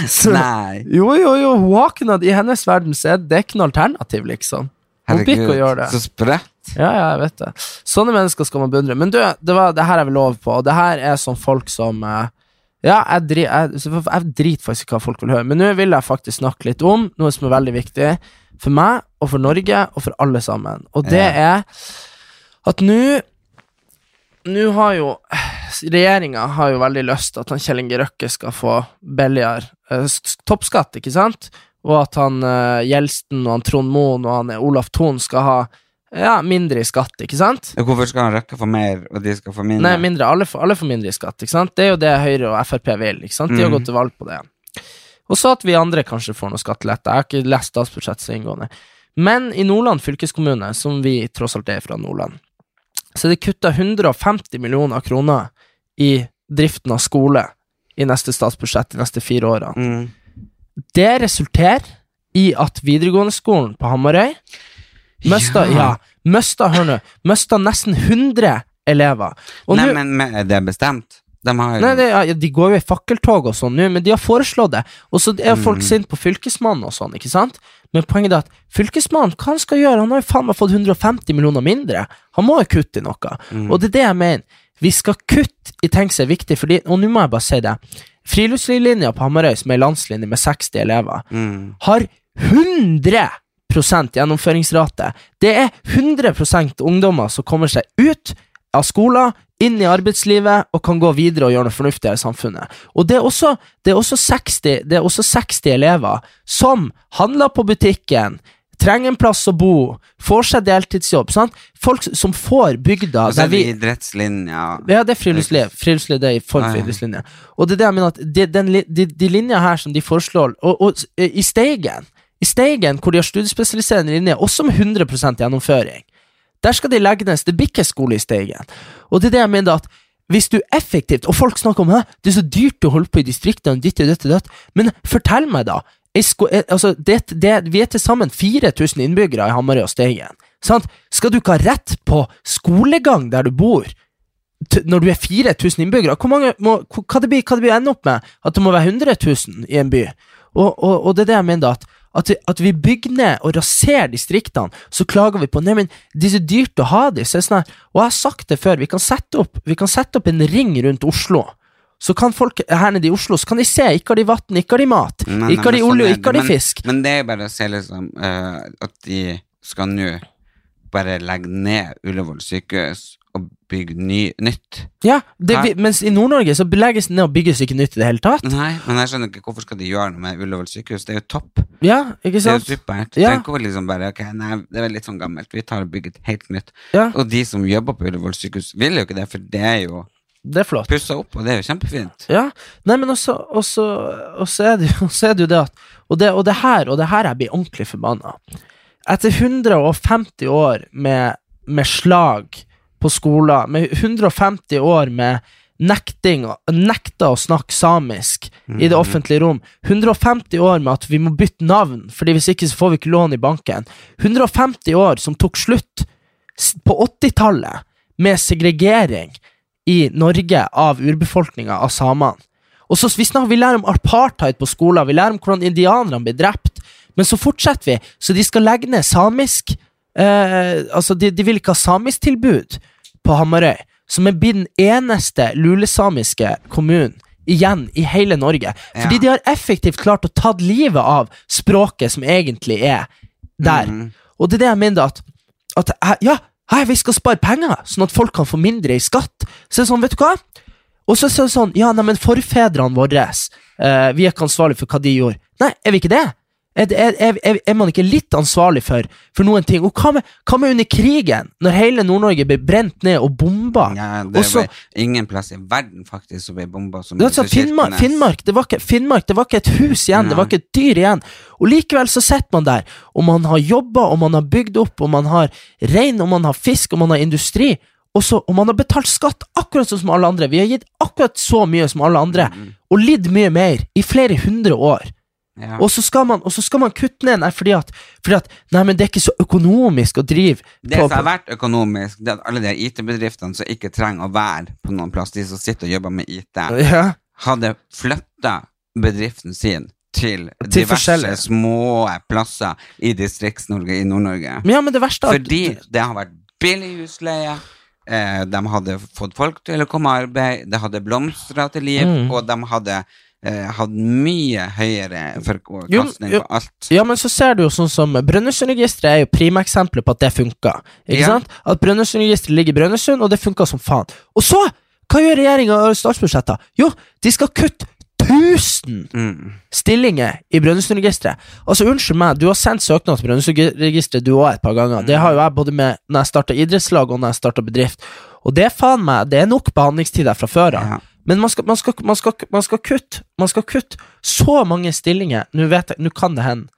B: så,
A: Nei.
B: Jo, jo, jo, hun har ikke noe I hennes verden så er det ikke noe alternativ, liksom. Hun blir ikke å gjøre det.
A: så sprøtt.
B: Ja, ja, jeg vet det. Sånne mennesker skal man beundre. Men du, det, var, det her er vel over på, og det her er sånn folk som eh, Ja, jeg, dri, jeg, så for- jeg driter faktisk i hva folk vil høre, men nå vil jeg faktisk snakke litt om noe som er veldig viktig for meg, og for Norge, og for alle sammen. Og det er at nå Nå har jo Regjeringa har jo veldig lyst til at han Kjell Inge Røkke skal få billigere eh, s- toppskatt, ikke sant? Og at han eh, Gjelsten og han Trond Moen og han eh, Olaf Thon skal ha ja, mindre i skatt, ikke sant?
A: Hvorfor skal han rekke for mer, og de skal få mindre?
B: Nei, mindre. Alle får, alle får mindre i skatt, ikke sant? Det er jo det Høyre og Frp vil, ikke sant? De har
A: Mhm.
B: gått til valg på det. Og så at vi andre kanskje får noe skattelette. Jeg har ikke lest statsbudsjettet så inngående. Men i Nordland fylkeskommune, som vi tross alt er fra Nordland, så er det kutta 150 millioner kroner i driften av skole i neste statsbudsjett de neste fire årene.
A: Mm.
B: Det resulterer i at videregående skolen på Hamarøy mista,
A: Ja.
B: ja. mista, hør nå, mista nesten 100 elever. Og
A: Nei,
B: nå-
A: men, men er det bestemt? De har jo
B: Nei, det, ja, de går jo i fakkeltog og sånn nå, men de har foreslått det. Og så er folk sint på fylkesmannen og sånn, ikke sant? Men poenget er at fylkesmannen, hva han skal gjøre? Han har jo faen meg fått 150 millioner mindre. Han må jo kutte i noe. Og det er det jeg mener. Vi skal kutte i ting som er viktig, fordi, og nå må jeg bare si det. Friluftslivlinja på Hamarøy, som er en landslinje med 60 elever,
A: mm.
B: har 100 gjennomføringsrate. Det er 100 ungdommer som kommer seg ut av skolen, inn i arbeidslivet og kan gå videre og gjøre noe fornuftigere i samfunnet. Og det er også, det er også, 60, det er også 60 elever som handler på butikken, trenger en plass å bo, får seg deltidsjobb. Sant? Folk som får bygda
A: Og så
B: der
A: er det
B: vi
A: altså, idrettslinja.
B: ja, det er friluftsliv. Friluftsliv det er i form
A: Ja,
B: for
A: ja.
B: idrettslinje. Og det er det jeg mener at de, den, li- de, de linja her som de foreslår Og, og s- eh, i Steigen, i Steigen hvor de har studiespesialiserende linje, også med 100 gjennomføring, der skal de legge ned. Det blir ikke skole i Steigen. Og det er det jeg mener at hvis du effektivt Og folk snakker om «Hæ, det er så dyrt å holde på i distriktene, ditt og ditt og datt. Men fortell meg, da. ei sko- eh, altså, det, det, vi er til sammen 4000 innbyggere i Hamarøy og Steigen. Sant? Skal du ikke ha rett på skolegang der du bor? t- når du er 4000 innbyggere, hvor mange må, hvor- hva det blir hva det blir å ende opp med? At det må være 100 000 i en by? Og, og, og det er det jeg mener, at, at, vi, at vi bygger ned og raserer distriktene, så klager vi på Nei, men det er så dyrt å ha dem. Så er det sånn her, og jeg har sagt det før, vi kan sette opp, vi kan sette opp en ring rundt Oslo. Så kan folk her nede i Oslo så kan de se. Ikke har de vann, ikke har de mat.
A: Nei, nei,
B: ikke har
A: men
B: de
A: sånn
B: olje,
A: er det.
B: ikke har de
A: Men-
B: fisk.
A: Men det er bare å se liksom eh, at de skal nå bare legge ned Ullevål sykehus og bygge ny, nytt.
B: Ja, det,
A: Nei.
B: vi, Mens i Nord-Norge så legges det ned og bygges ikke nytt i det hele tatt.
A: Nei, men jeg skjønner ikke hvorfor skal de gjøre noe med Ullevål sykehus. Det er jo topp.
B: Ja, ikke
A: Det er jo
B: sant?
A: supert.
B: Ja.
A: Tenk over liksom bare, ok, nei, det er litt sånn gammelt. Vi tar og bygger et helt nytt.
B: Ja.
A: Og de som jobber på Ullevål sykehus, vil jo ikke det, for det er jo
B: Det er flott.
A: pussa opp, og det er jo kjempefint.
B: Ja, nei, men også, også, også, er, det, jo- også er det jo det at og det, og det her, og det her jeg blir ordentlig forbanna. Etter 150 år med, med slag på skoler, med 150 år med, nekting, nekta å snakke samisk i det offentlige rom. 150 år med at vi må bytte navn, Fordi hvis ikke så får vi ikke lån i banken. 150 år som tok slutt s- på 80-tallet med segregering i Norge av urbefolkninga, av samene. Og så vi, snakker, vi lærer om apartheid på skolen, vi lærer om hvordan indianerne ble drept, men så fortsetter vi. Så de skal legge ned samisk eh, Altså, de, de vil ikke ha samisk tilbud på Hamarøy, som er blitt den eneste lulesamiske kommunen igjen i hele Norge. Fordi
A: Ja.
B: de har effektivt klart å ta livet av språket som egentlig er der. Og det er det jeg mener at, at jeg- Ja, hei, vi skal spare penger, sånn at folk kan få mindre i skatt. Så er det sånn, vet du hva? Og så er det sånn, ja, nei, men forfedrene våre, eh, vi er ikke ansvarlige for hva de gjorde. Nei, er vi ikke det? Er, det- er, er, er, er man ikke litt ansvarlig for, for noen ting? Og hva med, hva med under krigen, når hele Nord-Norge ble brent ned og bomba?
A: Ja, det
B: Og så-
A: var ingen plass i verden faktisk som ble bomba som
B: Det var sånn, Finnmark,
A: Kirkenes.
B: Finnmark, det var ikke, Finnmark, det var ikke et hus igjen, det
A: Nei.
B: var ikke et dyr igjen. Og likevel så sitter man der, og man har jobba, og man har bygd opp, og man har rein, og man har fisk, og man har industri. Og, så, og man har betalt skatt akkurat sånn som alle andre. Vi har gitt akkurat så mye som alle andre,
A: Mm.
B: og lidd mye mer, i flere hundre år.
A: Ja.
B: Og så skal man, og så skal man kutte ned, nei, fordi at, fordi at Nei, men det er ikke så økonomisk å drive
A: Det
B: på-
A: som har vært økonomisk, det er at alle de IT-bedriftene som ikke trenger å være på noen plass, de som sitter og jobber med IT,
B: ja.
A: hadde flytta bedriften sin til,
B: Til
A: diverse
B: forskjellige.
A: små plasser i Distrikts-Norge, i Nord-Norge.
B: Men ja, men det verste er at-
A: Fordi det har vært billig husleie, eh, de hadde fått folk til å komme i arbeid, det hadde blomstra til liv,
B: Mm.
A: og de hadde eh, hatt mye høyere
B: Jo,
A: forkastning
B: jo.
A: på alt.
B: Ja, men så ser du jo sånn som Brønnøysundregisteret er jo primeksemplet på at det funker. Ikke
A: Ja.
B: sant? At Brønnøysundregisteret ligger i Brønnøysund, og det funker som faen. Og så, hva gjør regjeringa i statsbudsjettet? Jo, de skal kutte 1000
A: Mm.
B: stillinger i Brønnøysundregisteret. Altså, unnskyld meg, du har sendt søknad til Brønnøysundregisteret du òg et par ganger. Det har jo jeg både med når jeg starta idrettslag og når jeg starta bedrift. Og det er faen meg, det er nok behandlingstid der fra før av.
A: Ja.
B: Men man skal, man, skal, man, skal, man skal kutte Man skal kutte så mange stillinger. Nå vet jeg, nå kan det hende.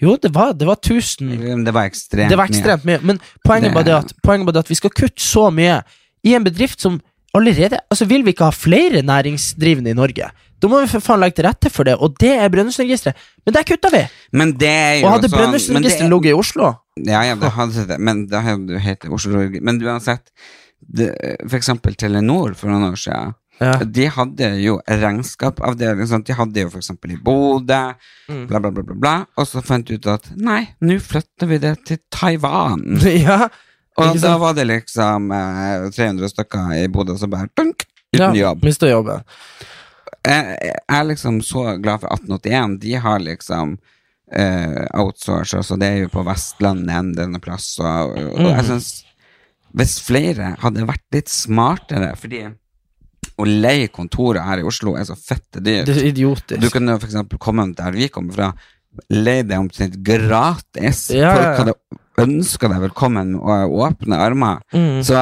B: Jo, det var, det var 1000
A: Det var ekstremt,
B: det var ekstremt mye. Men poenget
A: Det-
B: var det at, poenget var det at vi skal kutte så mye i en bedrift som allerede Altså, vil vi ikke ha flere næringsdrivende i Norge? Da må vi for faen legge til rette for det, og det er Brønnøysundregisteret. Men der kutta vi!
A: Men det er jo
B: Og hadde
A: sånn- men det-
B: Brønnøysundregisteret ligget i Oslo
A: Ja, ja, det hadde det, men da hadde du hett Oslo Men uansett, det, for eksempel Telenor for noen år siden,
B: ja.
A: de hadde jo regnskapavdeling, sant? de hadde jo for eksempel i Bodø,
B: Mm.
A: bla bla bla bla, bla, og så fant de ut at nei, nå flytter vi det til Taiwan.
B: ja.
A: Og
B: Ikke
A: da
B: sant?
A: var det liksom eh, 300 stykker i Bodø som bare dunk,
B: ja.
A: uten jobb.
B: Mista jobben.
A: Jeg, jeg er liksom så glad for 1881, de har liksom eh, outsourcer, så det er jo på Vestlandet en denne plass, og, og jeg synes hvis flere hadde vært litt smartere, fordi å leie kontorer her i Oslo er så fette dyrt.
B: Det er idiotisk.
A: Du kunne jo for eksempel komme der vi kommer fra, leie det omtrent gratis.
B: Ja, ja, ja.
A: Folk hadde ønsket deg velkommen og åpne armer.
B: Mm.
A: Så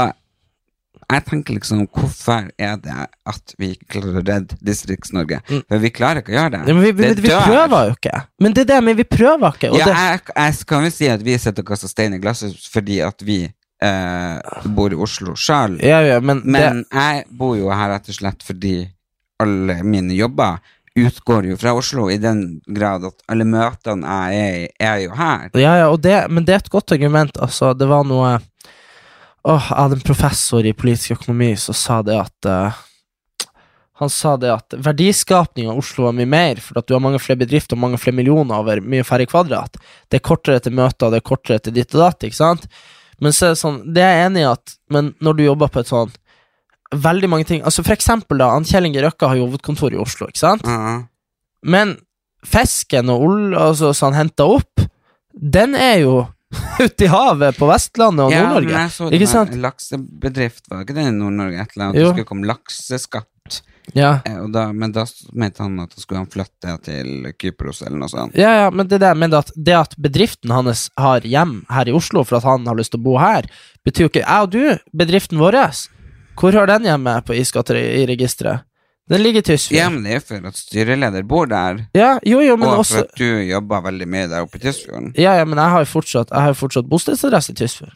A: jeg tenker liksom, hvorfor er det at vi ikke klarer å redde Distrikts-Norge? For vi klarer ikke å gjøre det.
B: Mm. ja, men vi, vi,
A: Det
B: vi
A: dør.
B: prøver jo ikke. Men det er det, men vi prøver ikke. Og
A: Ja,
B: det,
A: jeg, jeg kan vel si at vi sitter og kaster stein i glasset fordi at vi eh, bor i Oslo selv.
B: ja, ja, men,
A: Men jeg bor jo her rett og slett fordi alle mine jobber utgår jo fra Oslo, i den grad at alle møtene jeg er i, er jo her.
B: Ja, ja, og det, men det er et godt argument. Altså, det var noe Åh, Jeg hadde en professor i politisk økonomi som sa det at eh, Han sa det at verdiskapning av Oslo var mye mer, for at du har mange flere bedrifter og mange flere millioner over mye færre kvadrat. Det er kortere til møter, det er kortere til ditt og datt, ikke sant? Men så er det sånn, det er jeg enig i at Men når du jobber på et sånn Veldig mange ting Altså For eksempel, da. han Kjell Inge Røkke har jo hovedkontor i Oslo, ikke sant?
A: Ja.
B: Men fisken og ol, altså, som han henta opp, den er jo ute i havet på Vestlandet og
A: Ja, men
B: Nord-Norge.
A: jeg så
B: Ikke
A: det var
B: sant?
A: en laksebedrift, var ikke det i Nord-Norge? Et eller annet,
B: Jo.
A: det skulle komme lakseskatt,
B: Ja.
A: eh, og da, men da s- mente han at da skulle han flytte til Kypros eller noe sånt.
B: ja, ja, men det der med at, det at bedriften hans har hjem her i Oslo for at han har lyst til å bo her, betyr jo ikke Jeg og du, bedriften vår, hvor har den hjemme på iskatteregisteret? Den ligger i Tysfjord.
A: Ja, men det er jo for at styreleder bor der,
B: Ja, jo, jo, men
A: og for
B: også
A: at du jobber veldig mye der oppe i Tysfjorden.
B: Ja, ja, men jeg har jo fortsatt, jeg har jo fortsatt bostedsadresse i Tysfjord.